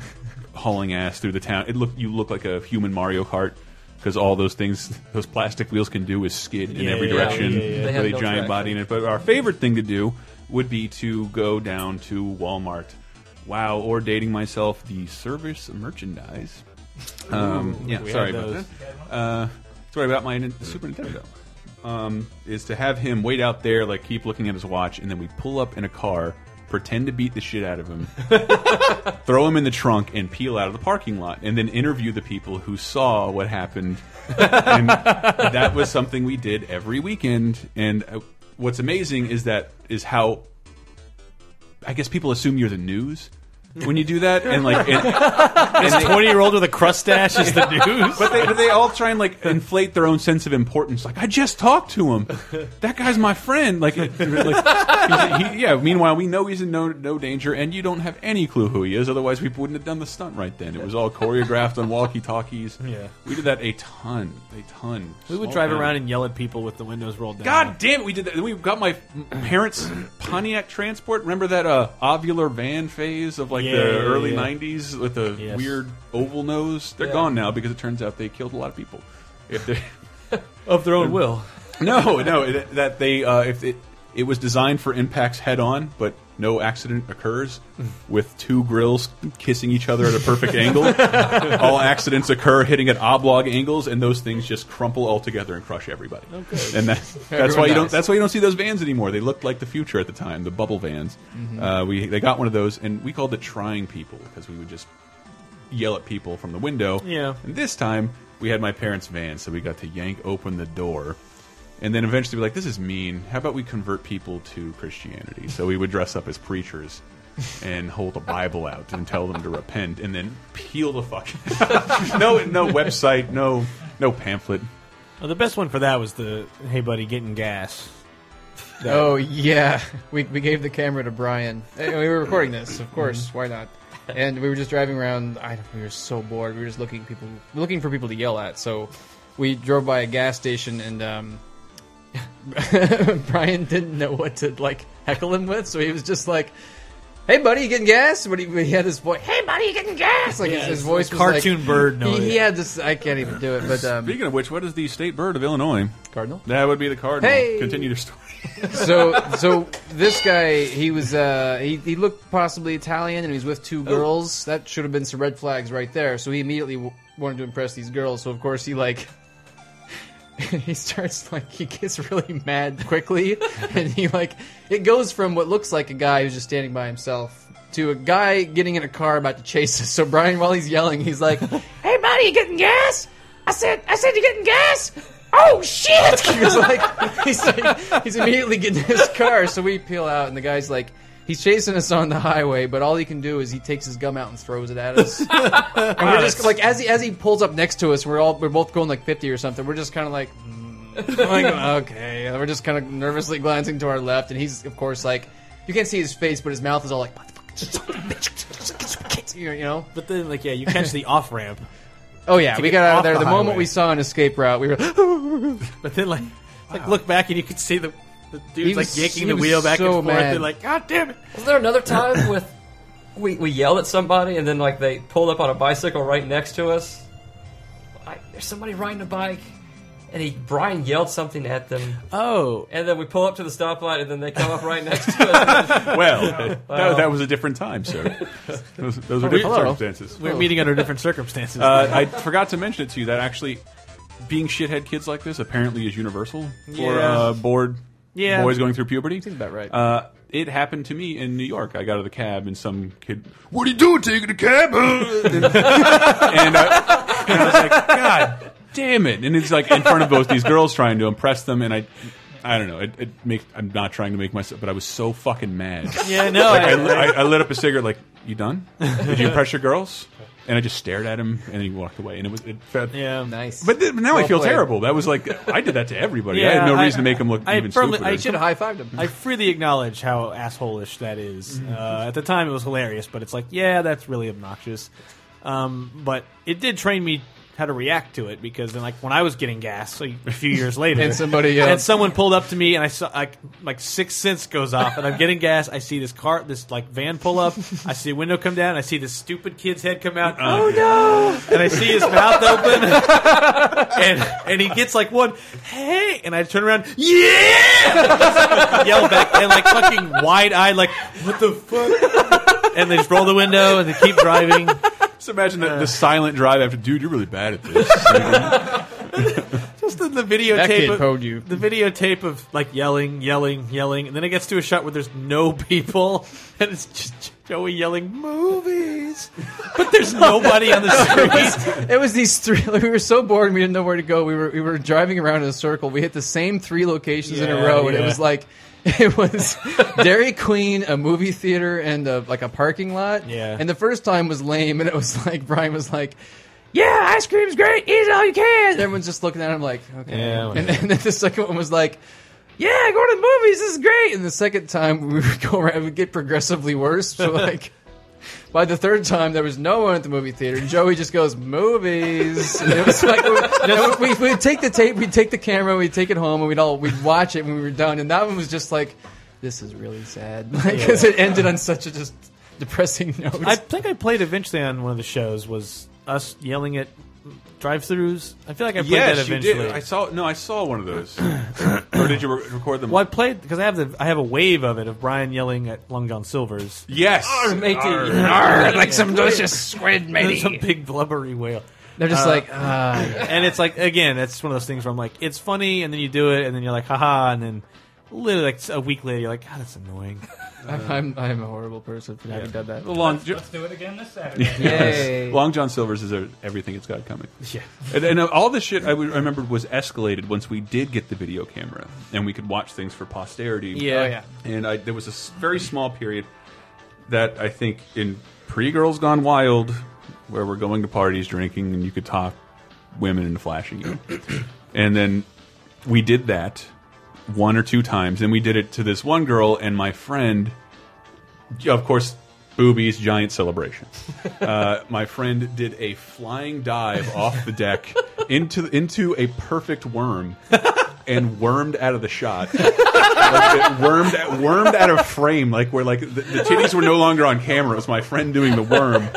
hauling ass through the town. It look you look like a human Mario Kart because all those things those plastic wheels can do is skid in Yeah, every yeah, direction yeah, yeah, yeah. They have with a no giant traction. body in it. But our favorite thing to do would be to go down to Walmart. Wow, or dating myself the service merchandise. Um, Ooh, yeah, we sorry had about those. that. Uh, sorry about my Nin- Super Nintendo. Um, is to have him wait out there, like keep looking at his watch, and then we pull up in a car, pretend to beat the shit out of him, throw him in the trunk, and peel out of the parking lot, and then interview the people who saw what happened. and that was something we did every weekend. And uh, what's amazing is that is how I guess people assume you're the news when you do that, and like and, <laughs> This 20-year-old with a crustache is the news? But they, but they all try and like inflate their own sense of importance. Like I just talked to him. That guy's my friend. Like, it- like he's- he- yeah. Meanwhile, we know he's in no no danger, and you don't have any clue who he is. Otherwise, we wouldn't have done the stunt right then. It was all choreographed on walkie talkies. Yeah. we did that a ton, a ton. We would Small drive town. around and yell at people with the windows rolled down. God damn it, we did that. We got my parents' Pontiac Transport. Remember that uh, ovular van phase of like Yeah, the yeah, early yeah. 90s with the Yes. weird oval nose? They're Yeah. gone now because it turns out they killed a lot of people. If they Of their own will. No, no, it, that they uh, if it it was designed for impacts head on, but no accident occurs with two grills kissing each other at a perfect angle. All accidents occur hitting at oblong angles, and those things just crumple all together and crush everybody. Okay. <laughs> And that, that's Everyone why you don't. dies. That's why you don't see those vans anymore. They looked like the future at the time, the bubble vans. Mhm. Uh, we they got one of those, and we called it trying people because we would just yell at people from the window. Yeah. And this time we had my parents' van, so we got to yank open the door. And then eventually we're like, this is mean. How about we convert people to Christianity? So we would dress up as <laughs> preachers and hold a Bible out and tell them to repent and then peel the fuck. <laughs> no no website, no no pamphlet. Well, the best one for that was the hey buddy getting gas. That- Oh yeah, we we gave the camera to Brian. And we were recording this, Mm-hmm. of course. Why not? And we were just driving around. I don't- we were so bored. We were just looking people looking for people to yell at. So we drove by a gas station, and um, <laughs> Brian didn't know what to like heckle him with. So he was just like. Hey buddy, you getting gas? What he, he had this voice. Hey buddy, you getting gas? Like Yeah, his, his it's voice, like was like- cartoon bird he- noise. He, had this. I can't even do it. But um, Speaking of which, what is the state bird of Illinois? Cardinal. That would be the cardinal. Hey! Continue your story. so so this guy he was uh he, he looked possibly italian and he was with two girls that should have been some red flags right there so he immediately w- wanted to impress these girls so of course he like <laughs> he starts like he gets really mad quickly <laughs> and he like it goes from what looks like a guy who's just standing by himself to a guy getting in a car about to chase us so brian while he's yelling he's like Hey, buddy, you getting gas? I said, I said, you getting gas? Oh shit! <laughs> he was like, he's like, he's immediately getting in his car. So we peel out, and the guy's like, he's chasing us on the highway, but all he can do is he takes his gum out and throws it <laughs> at us. and we're just like, as he as he pulls up next to us, we're all we're both going like fifty or something. We're just kind of like. <laughs> mm, like, okay, and we're just kind of nervously glancing to our left, and he's of course like, you can't see his face, but his mouth is all like, <laughs> you know. But then, like, yeah, you catch the off ramp. Oh yeah, To we get got out off of there the the, moment highway. we saw an escape route. We were <laughs> But then, like, like look back and you could see the, the dude's He was- like yanking he the was wheel back so and forth. mad. And like, God damn it! Was there another time with we we yelled at somebody and then like they pulled up on a bicycle right next to us? I, there's somebody riding a bike, and he Brian yelled something at them. Oh, and then we pull up to the stoplight, and then they come up right <laughs> next to us. Well, that, that was a different time, sir. Those, those were We- different Hello. circumstances. We're meeting under different circumstances. Uh, I forgot to mention it to you that actually being shithead kids like this apparently is universal for Yeah. uh, bored Yeah. boys going through puberty. Seems about right. Uh, it happened to me in New York. I got out <laughs> of the cab and some kid, "What are you doing, taking a cab?" and, and, uh, And I was like, God damn it! And it's like in front of both these girls trying to impress them, and I. I don't know. It, it make, I'm not trying to make myself, but I was so fucking mad. Yeah, no, <laughs> Like, I, I- I, I lit up a cigarette. Like, you done? Did you impress your girls? And I just stared at him, and he walked away. And it was it felt yeah nice. But, then, but now I Well feel played. terrible. That was like I did that to everybody. I had no reason to make him look I even firmly- stupider. I should high fived him. I freely acknowledge how assholeish that is. Uh, at the time, it was hilarious, but it's like, yeah, that's really obnoxious. Um, but it did train me how to react to it because then, like, when I was getting gas like, a few years later, <laughs> And somebody, uh, and someone pulled up to me, and I saw like like six cents goes off, and I'm getting gas. I see this car, this like van pull up. I see a window come down. I see this stupid kid's head come out. Oh no! And I see his mouth open, <laughs> and and he gets like one hey, and I turn around, yeah, <laughs> yell back, and like fucking wide eyed, like what the fuck? And they just roll the window and they keep driving. Just imagine the, the silent drive after, dude, you're really bad at this. Just the, the videotape. kid of, pwned you. The videotape of like yelling, yelling, yelling, and then it gets to a shot where there's no people, <laughs> and it's just Joey yelling movies, but there's nobody on the street. It was these three. <laughs> Like, we were so bored. We didn't know where to go. We were we were driving around in a circle. We hit the same three locations in a Yeah, row, and it yeah. was like <laughs> it was Dairy Queen, a movie theater, and a, like a parking lot. Yeah. And the first time was lame, and it was <laughs> like Brian was like. Yeah, ice cream's great. Eat it all you can. And everyone's just looking at him like, okay. Yeah, and, and <laughs> then the second one was like, yeah, go to the movies. This is great. And the second time we <laughs> would go around, it would get progressively worse. <laughs> So like, by the third time, there was no one at the movie theater. And Joey just goes, "Movies." And it was like we would we'd take the tape, we'd take the camera, we'd take it home, and we'd all we'd watch it when we were done. And that one was just like, "This is really sad," <laughs> because it ended on such a just depressing note. I think I played eventually on one of the shows was us yelling at drive-throughs. I feel like I played that yes, you eventually. did. I saw no, I saw one of those. or did you re- record them? Well, I played because I have the I have a wave of it of Brian yelling at Long John Silver's. Yes, Uh, Arr. like some delicious squid, <laughs> It's a big blubbery whale. They're just Uh, like, ah. and it's like again, that's one of those things where I'm like, it's funny, and then you do it, and then you're like, haha, and then literally like a week later, you're like, God, that's annoying. I'm, "Ah, I'm I'm a horrible person for having done that. The long. Let's do it again this Saturday. Yay. Long John Silver's is everything it's got coming. <laughs> Yeah. And, and uh, all the shit I would- I remembered was escalated once we did get the video camera and we could watch things for posterity. Yeah. Oh, yeah. And I, there was a s- very small period that I think in pre Girls Gone Wild, where we're going to parties, drinking, and you could talk women into <coughs> flashing you. and then we did that one or two times. And we did it to this one girl and my friend of course, boobies, <laughs> giant celebration. Uh, my friend did a flying dive off the deck into into a perfect worm and wormed out of the shot. <laughs> Like, it wormed wormed out of frame, like where like the, the titties were no longer on camera. It was my friend doing the worm.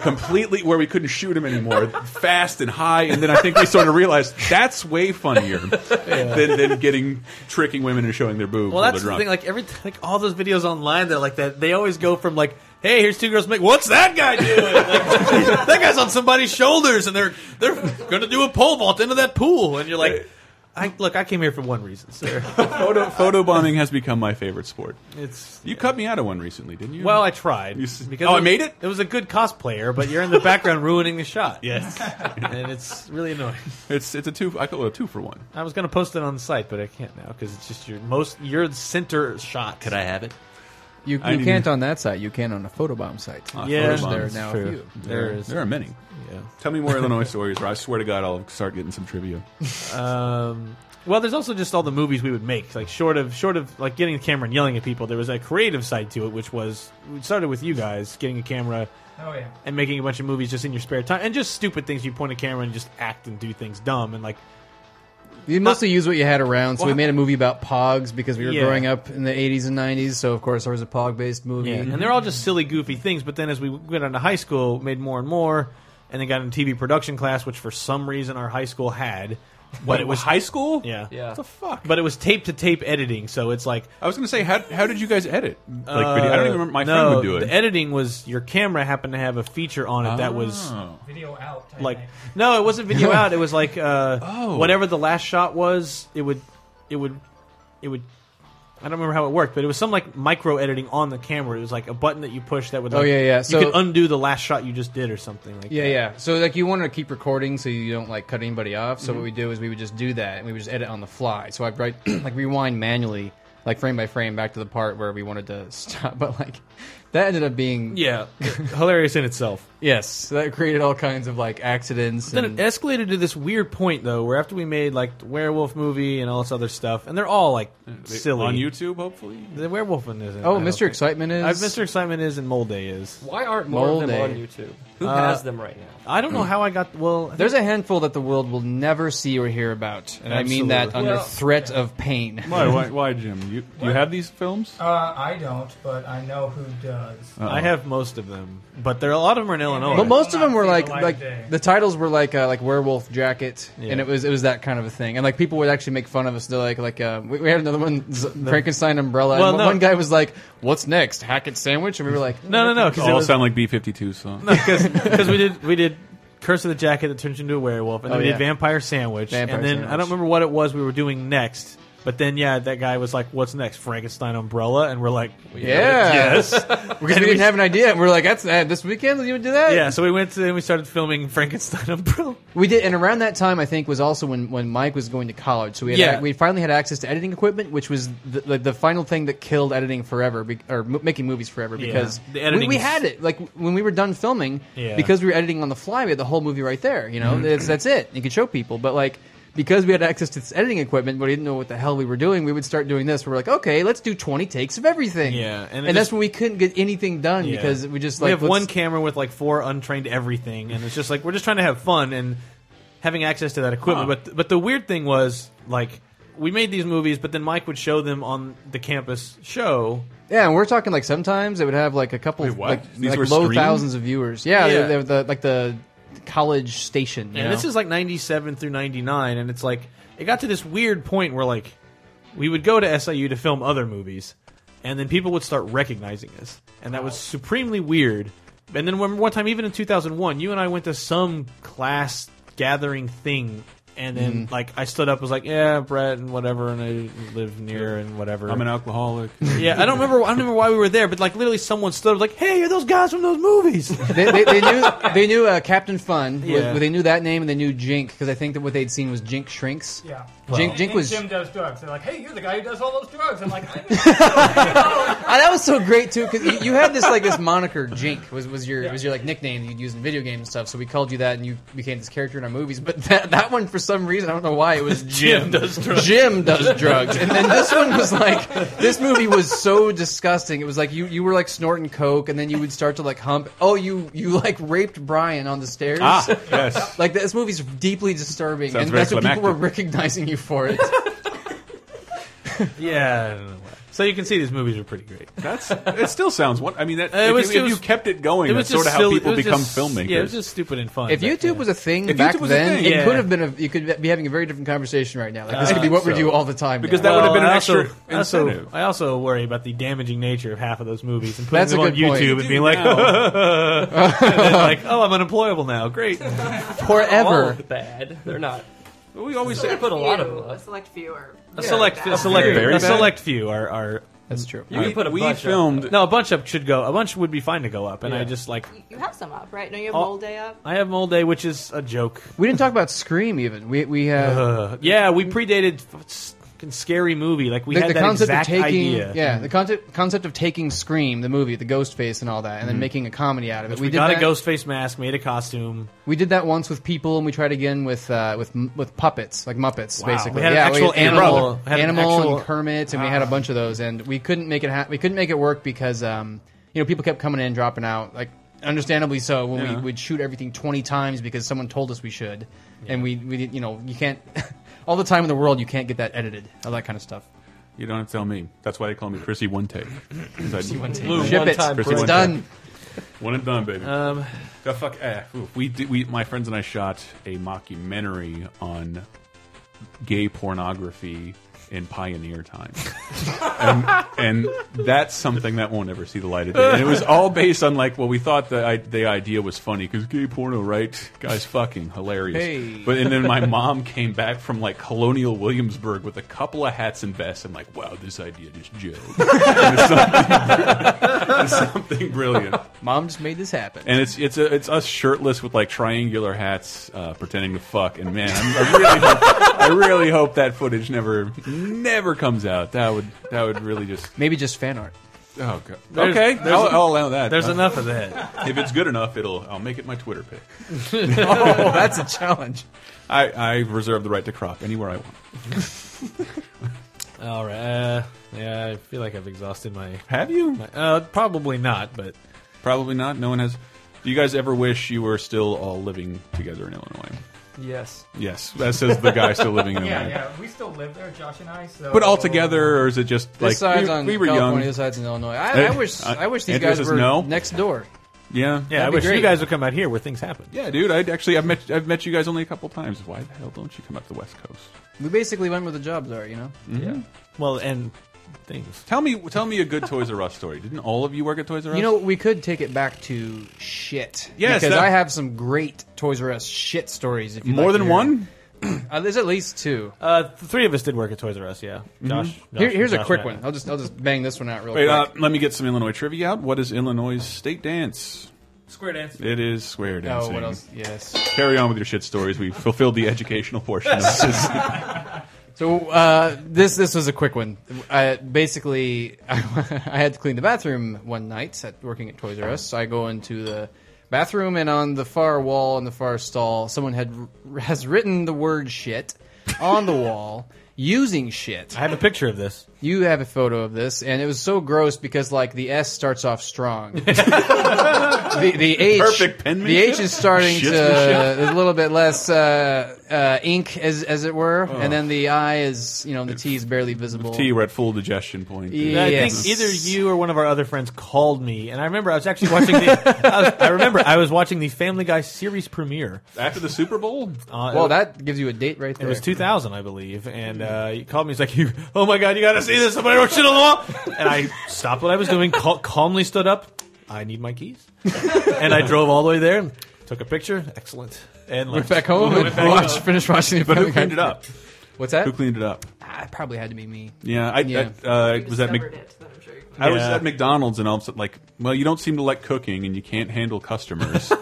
Completely where we couldn't shoot him anymore, fast and high, and then I think we sort of realized that's way funnier than, than getting tricking women and showing their boobs. Well, while that's they're the drunk. thing. Like every like all those videos online, they're like that. They always go from like, hey, here's two girls make. What's that guy doing? Like, <laughs> that guy's on somebody's shoulders, and they're they're gonna do a pole vault into that pool, and you're like. I, look, I came here for one reason, <laughs> sir. Photo photobombing has become my favorite sport. It's You cut me out of one recently, didn't you? well, I tried You s- because oh, I was- made it? It was a good cosplayer, but you're in the background ruining the shot. Yes, and it's really annoying. it's it's a two. I call it a two for one. I was gonna post it on the site, but I can't now because it's just your most your center shot. Could I have it? You, I you didn't- can't on that site. You can on a photobomb site. Ah, Yeah. Which there are photobombs. now a True. few. There is. There are many. Yeah. Tell me more Illinois stories, or I swear to God, I'll start getting some trivia. <laughs> Um, well, there's also just all the movies we would make. Like short of short of like getting a camera and yelling at people, there was a creative side to it, which was we started with you guys getting a camera Oh yeah. and making a bunch of movies just in your spare time and just stupid things. You point a camera and just act and do things dumb and like You mostly use what you had around. So we made a movie about Pogs because we were uh, Yeah. growing up in the 80s and 90s. So of course there was a Pog-based movie. Yeah, and they're all just silly, goofy things. But then as we went on to high school, made more and more, and then got into TV production class, which for some reason our high school had. But it was high school. yeah, Yeah. What the fuck? But it was tape to tape editing, so it's like I was going to say, how how did you guys edit? Like, video, I don't even remember. My Uh, no, friend would do it. The editing was your camera happened to have a feature on it that was Oh. Video out. I like think. no, it wasn't <laughs> video out. It was like uh, Oh. whatever the last shot was, it would it would it would I don't remember how it worked, but it was some like micro editing on the camera. It was like a button that you push that would. Oh, Like, yeah, yeah. So- you could undo the last shot you just did or something like. Yeah, that. yeah. So like you want to keep recording so you don't like cut anybody off. So Mhm. what we do is we would just do that and we would just edit on the fly. So I'd write <clears throat> like rewind manually, like frame by frame, back to the part where we wanted to <laughs> stop. But like that ended up being <laughs> Yeah, hilarious in itself. Yes, so that created all kinds of like accidents. Then it and- escalated to this weird point though, where after we made like the werewolf movie and all this other stuff, and they're all like They- silly on YouTube, hopefully. The werewolf one isn't. Oh, I don't Mr. think. Excitement is? Uh, Mr. Excitement is and Mole Day is. Why aren't more of them Mole Day. on YouTube? Who has them right now? I don't Mm. know how I got. Well, I There's a handful that the world will never see or hear about, and I mean that Absolutely. under Well- threat of pain. <laughs> Why, why, why, Jim? You, do you have these films? Uh, I don't, but I know who does. I have most of them, but there are a lot of them are in Illinois. But most of them were the like light of day. like the titles were like uh, like werewolf jacket, Yeah. and it was it was that kind of a thing. And like people would actually make fun of us. They're like like uh, we, we had another <laughs> one Z- Frankenstein umbrella. Well, and no. one guy was like, "What's next? Hackett sandwich?" And we <laughs> were like, No, no, no, They because all sound like B 52 songs. <laughs> because we did we did Curse of the Jacket that turns you into a werewolf, and then Oh, we yeah. did Vampire Sandwich, Vampire and then Sandwich. I don't remember what it was we were doing next. But then, yeah, that guy was like, "What's next? Frankenstein umbrella?" And we're like, Yeah. yes." Because <laughs> we didn't have an idea, and we are like, "That's uh, this weekend. You would do that?" yeah, so we went to and we started filming Frankenstein umbrella. We did, and around that time, I think was also when, when Mike was going to college. So we had, Yeah. we finally had access to editing equipment, which was the, the, the final thing that killed editing forever, be, or m- making movies forever, Yeah. because The we, editing we is- had it. Like when we were done filming, Yeah. Mm-hmm. because we were editing on the fly, we had the whole movie right there. You know, that's, that's it. You could show people, but like. Because we had access to this editing equipment, but we didn't know what the hell we were doing, we would start doing this. We're like, okay, let's do 20 takes of everything. Yeah, and it And, just- that's when we couldn't get anything done because we just like. we have let's- one camera with like four untrained everything, and it's just like we're just trying to have fun and having access to that equipment. Huh. But but the weird thing was like we made these movies, but then Mike would show them on the campus show. Yeah, and we're talking like sometimes it would have like a couple, Wait, what? like, These like were low streamed? thousands of viewers. Yeah, Yeah. They, they were the, like the college station. you And this know? is like 97 through 99, and it's like, it got to this weird point where, like, we would go to SIU to film other movies, and then people would start recognizing us. And that was supremely weird. And then when, one time, even in 2001, you and I went to some class gathering thing, and then, like, I stood up was like, yeah, Brett, and whatever, and I live near, and whatever. I'm an alcoholic. <laughs> yeah, I don't remember. I don't remember why we were there, but like literally, someone stood up, was like, "Hey, are those guys from those movies?" <laughs> they, they, they knew they knew uh, Captain Fun. was- Yeah. they knew that name and they knew Jink because I think that what they'd seen was Jink shrinks. Yeah. Jink And- Jink and was. Jim does drugs. They're like, hey, you're the guy who does all those drugs. I'm <laughs> like, I'm Ah, that was so great too because you, you had this like this moniker Jink was, was your was your like nickname that you'd use in video games and stuff. So we called you that, and you became this character in our movies. But that, that one for some reason I don't know why it <laughs> was Jim. does drugs. Jim does drugs, and then this one was like this movie was so disgusting. It was like you you were like snorting coke, and then you would start to like hump. Oh, you you like raped Brian on the stairs. ah, yes. Like this movie's deeply disturbing, Sounds and very that's what people were climactic. recognizing you for it. yeah, I don't know why. so you can see these movies are pretty great. That's, it still sounds one. I mean, that, It if, was- you, it if you was- kept it going, It was that's sort of just how silly- people it was become just- filmmakers. Yeah, it was just stupid and fun. if back YouTube then. was a thing If back YouTube was a then, thing, it yeah. could have been. A, you could be having a very different conversation right now. Like this could be Uh, what we so. do all the time. Because now. that would have Well, been an I also- extra I also, incentive. I also worry about the damaging nature of half of those movies and putting That's them a on good point. YouTube Dude, and being like, <laughs> and then like, oh, I'm unemployable now. Great. All forever. bad. They're not. we always Select say, put a lot of few. them up. A select few are A select, a select, Very a bad. select few are, are That's true. You can put a we bunch up. filmed. no, a bunch up should go. A bunch would be fine to go up, and I just like, You- You have some up, right? No, you have Oh. Mole Day up. I have Mole Day, which is a joke. We didn't talk about Scream even. We we have Uh, yeah, we predated f- fucking scary movie. Like we the, had the that concept of exact taking idea. Mm-hmm. yeah the concept concept of taking Scream the movie the ghost face and all that and then making a comedy out of it. Mm-hmm. we, got that, a ghost face mask, made a costume. We did that once with people and we tried again with uh, with m- with puppets like Muppets basically. We had an yeah, actual animal animal- had an animal actual- Ah. and Kermit and we had a bunch of those and we couldn't make it ha- we couldn't make it work because um, you know people kept coming in dropping out like understandably so when Yeah. we would shoot everything 20 times because someone told us we should and we we didn't- you know you can't <laughs> all the time in the world you can't get that edited all that kind of stuff. You don't have to tell me. That's why they call me Chrissy One Take. 'Cause I- One take. Boom. Ship One it. time Chrissy It's One done. One and done, baby. Um, The fuck, eh. Ooh, We, did, we, my friends and I shot a mockumentary on gay pornography in pioneer times. and, and that's something that won't ever see the light of day. And it was all based on like, well, we thought the I, the idea was funny because gay porno, right? Guys, fucking hilarious. Hey. But and then my mom came back from like Colonial Williamsburg with a couple of hats and vests, and like, wow, this idea just joked. <laughs> It's something, <laughs> it's something brilliant. Mom just made this happen. And it's it's a, it's us shirtless with like triangular hats, uh, pretending to fuck. And man, I'm, I really hope, I really hope that footage never never comes out. That would that would really just maybe just fan <laughs> art. Oh god. There's- okay, there's- I'll, I'll allow that. there's Uh, enough of that. If it's good enough, it'll I'll make it my Twitter pick. Oh, that's a challenge. I, I reserve the right to crop anywhere I want. All right. Uh, yeah, I feel like I've exhausted my. Have you? uh, probably not, but probably not. No one has. Do you guys ever wish you were still all living together in Illinois? Yes. Yes, that says the guy still living in <laughs> Yeah, Illinois. yeah. We still live there, Josh and I. So. But all together, or is it just This like side's we, on we were California, young? this side's in Illinois. I- I Eh, wish- I wish these Andrew guys says were no. next door. Yeah, Yeah, I wish you guys would come out here where things happen. Yeah, dude. I actually I've met I've met you guys only a couple times. Why the hell don't you come up the West Coast? We basically went where the jobs are, you know. Mhm. Well, and things. Tell me tell me a good Toys R Us story. Didn't all of you work at Toys R Us? You know, we could take it back to shit. Yes, because that- I have some great Toys R Us shit stories. If you'd More like to than hear one? them. uh, there's at least two. Uh, th- three of us did work at Toys R Us. Yeah, Josh. Josh- Mm-hmm. Here- here's a Josh quick and I. one. I'll just I'll just bang this one out real Wait, quick. uh, let me get some Illinois trivia out. What is Illinois' state dance? Square dance. Oh, It is square dancing. what else? Yes. Carry on with your shit stories. We've fulfilled the educational portion of this. So uh, this this was a quick one. I, basically, <laughs> I, had to clean the bathroom one night at working at Toys R Us. So I go into the bathroom, and on the far wall in the far stall, someone had has written the word "shit" on the wall <laughs> using "shit." I have a picture of this. You have a photo of this, and it was so gross because like the S starts <laughs> off strong. the, the H, Perfect the penmanship. H is starting Shit's to been a little bit less uh, uh, ink, as as it were, Oh. and then the I is you know the T is barely visible. T, we're at full digestion point. I Yes. think either you or one of our other friends called me, and I remember I was actually watching. The, I, was, I remember I was watching the Family Guy series premiere. After the Super Bowl? Uh, Well, that gives you a date right there. It was 2000, I believe, and uh, he called me. He's like, "You- "Oh my God, you got to see this! Somebody wrote shit on the wall!" And I stopped what I was doing, cal- calmly stood up. I need my keys, and I drove all the way there, and took a picture. Excellent. And Went left. <laughs> back home Went <laughs> and back watched- home. finished watching the But who Family Guy. cleaned it up? What's that? Who cleaned Hmm. it up? Ah, it probably had to be me. Yeah, I, Yeah. I uh, was at Mc- I was Yeah. at McDonald's and all of a sudden, like, well, you don't seem to like cooking and you can't handle customers,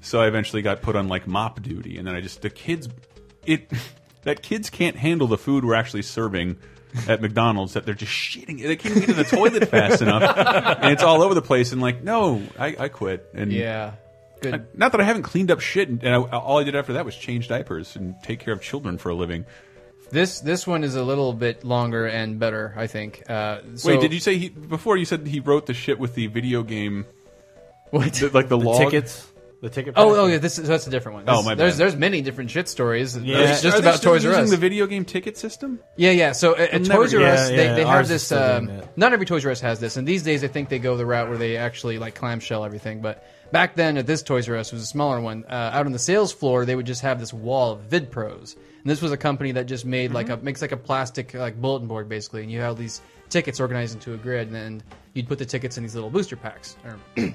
so I eventually got put on like mop duty, and then I just the kids, it that kids can't handle the food we're actually serving at McDonald's that they're just shitting. They can't get to the toilet fast enough, and it's all over the place. And like, no, I, I quit. And Yeah. Good. I- not that I haven't cleaned up shit, and I, all I did after that was change diapers and take care of children for a living. This this one is a little bit longer and better, I think. Uh, so- Wait, did you say he before? You said he wrote the shit with the video game. What? The- like the, The log? tickets, the ticket. Oh, price. oh, yeah. This is that's a different one. Oh, This- my bad. There's there's many different shit stories. Yeah. There's just Are they about still Toys R using Us. the video game ticket system? Yeah, yeah. So at, I'll at never Toys R get Us, it. they, Yeah, they yeah, have ours is this. still doing Um, not every Toys R Us has this, and these days I think they go the route where they actually like clamshell everything. But back then, at this Toys R Us was a smaller one. Uh, out on the sales floor, they would just have this wall of VidPros, and this was a company that just made like Mm-hmm. a makes like a plastic like bulletin board basically, and you had all these tickets organized into a grid, and then you'd put the tickets in these little booster packs. Or <clears throat>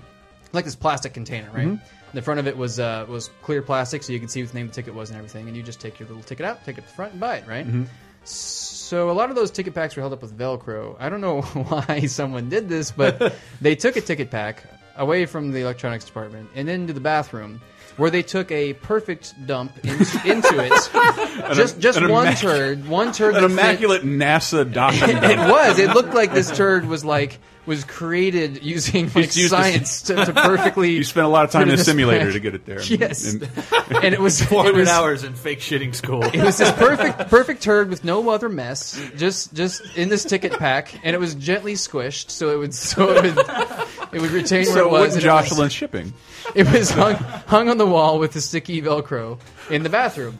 like this plastic container, right? Mhm. Mm-hmm. The front of it was uh, was clear plastic, so you could see what the name of the ticket was and everything. And you just take your little ticket out, take it to the front, and buy it, right? Mm-hmm. Mhm. So a lot of those ticket packs were held up with Velcro. I don't know <laughs> why someone did <laughs> this, but they took a ticket pack away from the electronics department and into the bathroom. Where they took a perfect dump in, into it, just <laughs> just An one immac- turd, one turd. An that fit- immaculate <laughs> NASA document. it was. It looked like this turd was like was created using like It's used to- science to, to <laughs> perfectly. You spent a lot of time fit in a this simulator pack. to get it <laughs> there. Yes, And- and, it <laughs> was 400 it was- hours in fake shitting school. <laughs> It was this perfect perfect turd with no other mess, just just in this ticket pack, and it was gently squished so it would so it would it would retain where So it wouldn't was. and it was- Jocelyn shipping? It was hung hung on the wall with the sticky Velcro in the bathroom,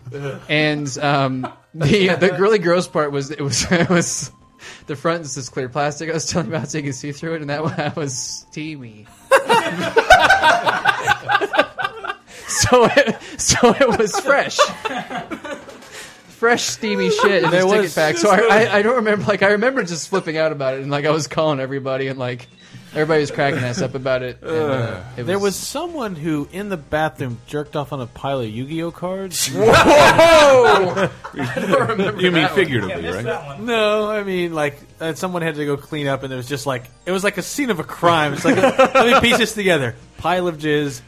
and um, the the really gross part was it was <laughs> it was the front is this clear plastic I was telling you about so you can see through it, and that one I was steamy. <laughs> so it, so it was fresh. fresh steamy shit in There this was- ticket pack. So I, I, I don't remember. Like I remember just flipping out about it, and like I was calling everybody, and like everybody was cracking us up about it. And, uh, it there was someone who, in the bathroom, jerked off on a pile of Yu-Gi-Oh cards. Whoa! You mean figuratively, right? No, I mean like uh, someone had to go clean up, and there was just like it was like a scene of a crime. <laughs> It's like let me piece this together: pile of jizz,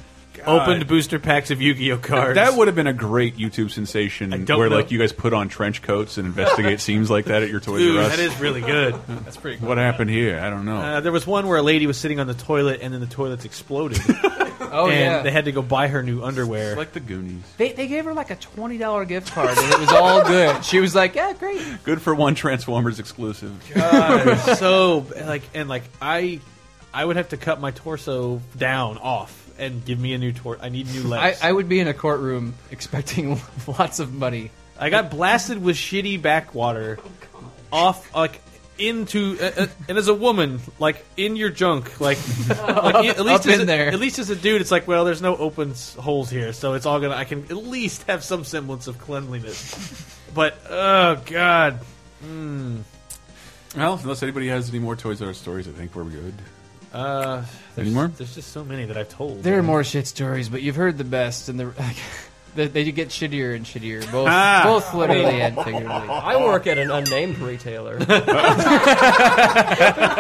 opened booster packs of Yu-Gi-Oh cards. That would have been a great YouTube sensation don't where know. like you guys put on trench coats and <laughs> investigate scenes like that at your Toys Dude, R Us. that is really good. <laughs> That's pretty cool. What happened here? I don't know. Uh, there was one where a lady was sitting on the toilet, and then the toilets <laughs> exploded. Oh, and yeah. they had to go buy her new underwear. Like the Goonies. They, they gave her like a twenty dollar gift card, and it was <laughs> all good. She was like, "Yeah, great." Good for one Transformers exclusive. God, it was so like and like I, I would have to cut my torso down off and give me a new tor. <laughs> I need new I, legs. I would be in a courtroom expecting <laughs> lots of money. I got blasted with shitty backwater off like into uh, uh, and as a woman like in your junk <laughs> like, like at least as Up in a, there. at least as a dude it's like well there's no open s- holes here so it's all gonna I can at least have some semblance of cleanliness but oh god mm. Well, unless anybody has any more Toys R Us stories, I think we're good. uh, there's, Any more? there's just so many that I've told There are more shit stories, but you've heard the best, and the <laughs> they, they get shittier and shittier, both Ah. both literally <laughs> and figuratively. I work at an unnamed retailer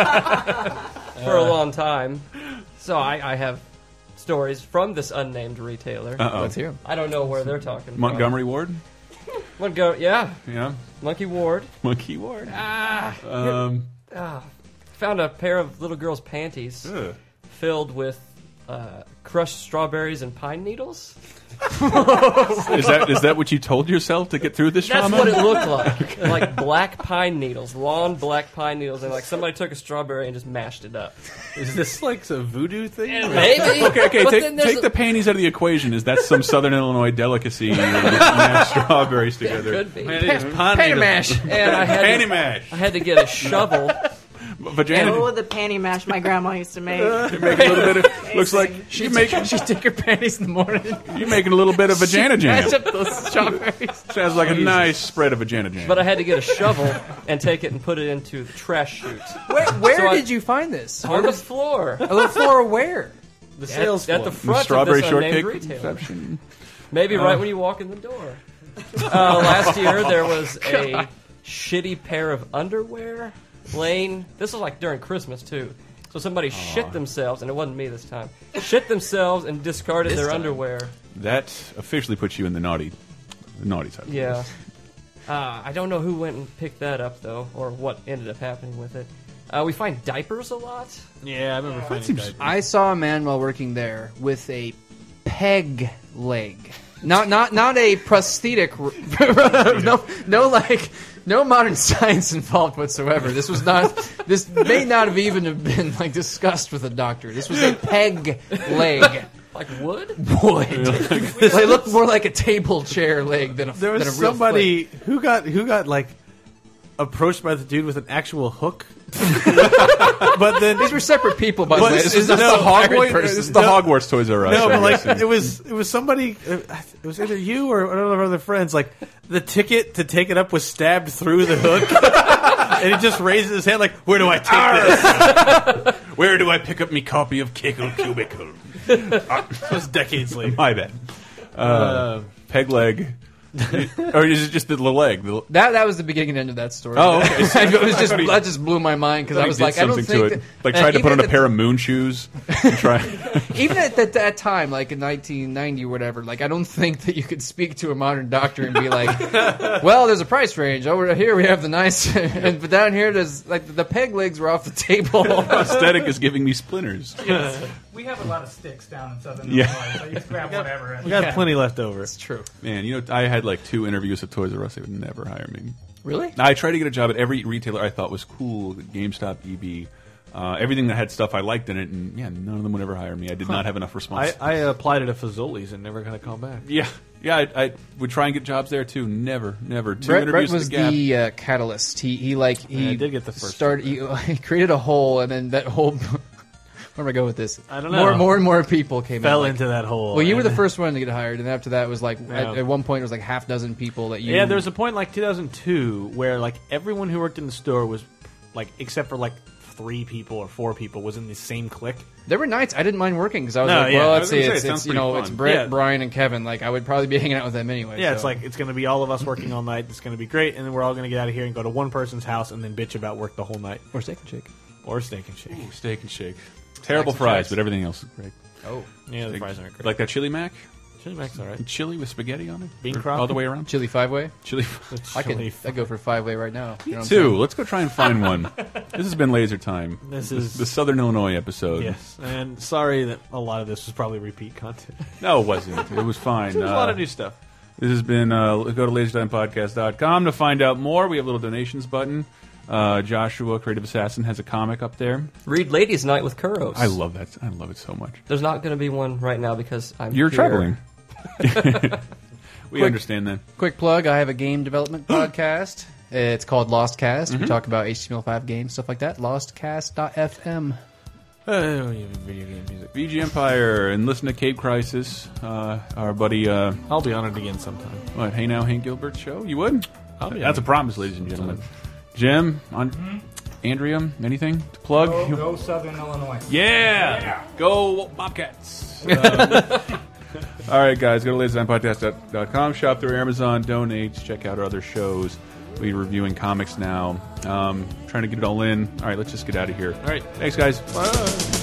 for a long time, so I, I have stories from this unnamed retailer. Uh-oh. Let's hear 'em. I don't know where they're talking. Uh, Montgomery Ward? From. Montgomery. Yeah. Yeah. Monkey Ward. Monkey Ward. Ah. Um. ah, found a pair of little girls' panties Ugh. filled with uh, crushed strawberries and pine needles. Is that is that what you told yourself to get through this That's trauma? what it looked like. <laughs> Like black pine needles, long black pine needles, and like somebody took a strawberry and just mashed it up. Is this like a voodoo thing? maybe. Okay, okay. But Take, then there's take a- the panties out of the equation. Is that some Southern Illinois delicacy? You <laughs> mash strawberries together. Could be. Man, it is pond needle. And I had to- Panty mash. I had to get a shovel. <laughs> Vagina. Oh, the panty mash my grandma used to make. Make a little bit <laughs> of, looks like she making she take her panties in the morning. you making a little bit of vagina jam. Mash up those <laughs> strawberries. Sounds like a Jesus. nice spread of vagina jam. But I had to get a shovel and take it and put it into the trash chute. Where, where So I- did you find this? <laughs> On the floor. On the floor where? The sales at, at floor. the The front strawberry of this unnamed shortcake retailer. reception. Maybe Oh. right when you walk in the door. Uh, last year there was a God. shitty pair of underwear laying. This was like during Christmas too. So somebody shit themselves, and it wasn't me this time. Shit themselves and discarded This their time. underwear. That officially puts you in the naughty, the naughty side. of Yeah. things. <laughs> Uh, I don't know who went and picked that up though, or what ended up happening with it. Uh, we find diapers a lot. Yeah, I remember finding <laughs> diapers. I saw a man while working there with a peg leg. Not not not a prosthetic. r- <laughs> no no like no modern <laughs> science involved whatsoever. This was not. This may not have even have been like discussed with a doctor. This was a peg leg. Like wood? Wood. they looked more like a table chair leg than a. There was than a real somebody who got who got like approached by the dude with an actual <laughs> hook. but then these were separate people, by the way. This is not the some hired Hogwarts- person. this is the Hogwarts Toys R Us, No, I but guess. like it was it was somebody. uh, It was either you or one of our other friends. Like the ticket to take it up was stabbed through the hook, <laughs> and he just raises his hand like, "Where do I take <laughs> this? Where do I pick up me copy of Kickle Cubicle?" <laughs> it was decades later. My bad. Uh, peg leg, or is it just the leg? The, That that was the beginning and end of that story. Oh, okay. So- <laughs> it was <laughs> I just thought he- that just blew my mind because I he was did like, I don't something think to it. that- Like and tried <laughs> to put on a even pair of moon shoes. And try. <laughs> at- even at that, that time, like in 1990 or whatever. Like I don't think that you could speak to a modern doctor and <laughs> be like, well, there's a price range. Over here we have the nice, <laughs> and but down here there's like the peg legs were off <laughs> the table. Aesthetic is giving me splinters. We have a lot of sticks down in southern Yeah. Illinois, so you just <laughs> grab whatever. <laughs> We got plenty left over. It's <laughs> true. Man, you know, I had like two interviews at Toys R Us. They would never hire me. Really? I tried to get a job at every retailer I thought was cool GameStop, EB, uh, everything that had stuff I liked in it, and yeah, none of them would ever hire me. I did not have enough response. I, I applied at a Fazoli's and never got a call back. yeah. Yeah, I, I would try and get jobs there too. Never, never. Two Brett, Brett interviews at was the Gap. the uh, catalyst. He he like he I did get the first <laughs> started. He, he created a hole, and then that hole <laughs> where am I going with this? I don't More, know. more and more people came Fell out, like- into that hole, Well, you were the and- first one to get hired, and after that was like at, Yeah. at one point it was like half dozen people that you. Yeah, there was a point like 2002 where like everyone who worked in the store was like except for like three people or four people was in the same clique. There were nights I didn't mind working because I was No, like, yeah. well, I let's was see, gonna say, it's, it sounds it's you pretty know, fun. it's Brett, Yeah. Brian, and Kevin. Like I would probably be hanging out with them anyway. Yeah, so. it's like it's going to be all of us working all night. It's going to be great, and then we're all going to get out of here and go to one person's house and then bitch about work the whole night. Or steak and shake. Or steak and shake. steak and shake. Terrible Mac and fries, fries. but everything else is great. Oh. Yeah, the Steak- fries aren't great. Like that chili mac? Chili mac's all right. Chili with spaghetti on it? Bean Or crop? All the <laughs> way around? Chili five way? Chili. I could I could go for five way right now. You know what <laughs> I'm Two. saying? Let's go try and <laughs> find one. this has been Laser Time. This is- the Southern Illinois episode. Yes, and sorry that a lot of this was probably repeat content. No, it wasn't. It was <laughs> fine. There's a lot Uh, of new stuff. This has been uh, go to lasertimepodcast.com to find out more. We have a little donations button. Uh, Joshua, Creative Assassin, has a comic up there. Read Ladies Night with Kuros. I love that. I love it so much. There's not going to be one right now because I'm. You're here. traveling. <laughs> we Quick- understand that. Quick plug: I have a <gasps> game development podcast. It's called Lost Cast. We Mm-hmm. Mhm. talk about HTML5 games, stuff like that. Lostcast.fm. Oh, you have video game music. VG Empire and listen to Cape Crisis. Uh, our buddy. Uh, I'll be on it again sometime. What? Hey now, Hank Gilbert show. You would? I'll be on That's it Oh, a promise, ladies and gentlemen. Jim, on, Andrea, anything to plug? Go, go Southern Illinois. Yeah. Go Bobcats. Um, <laughs> all right, guys, go to lasertimepodcast.com, shop through Amazon, donate, check out our other shows. We're reviewing comics now. Um, trying to get it all in. All right, let's just get out of here. All right. Thanks, guys. Bye.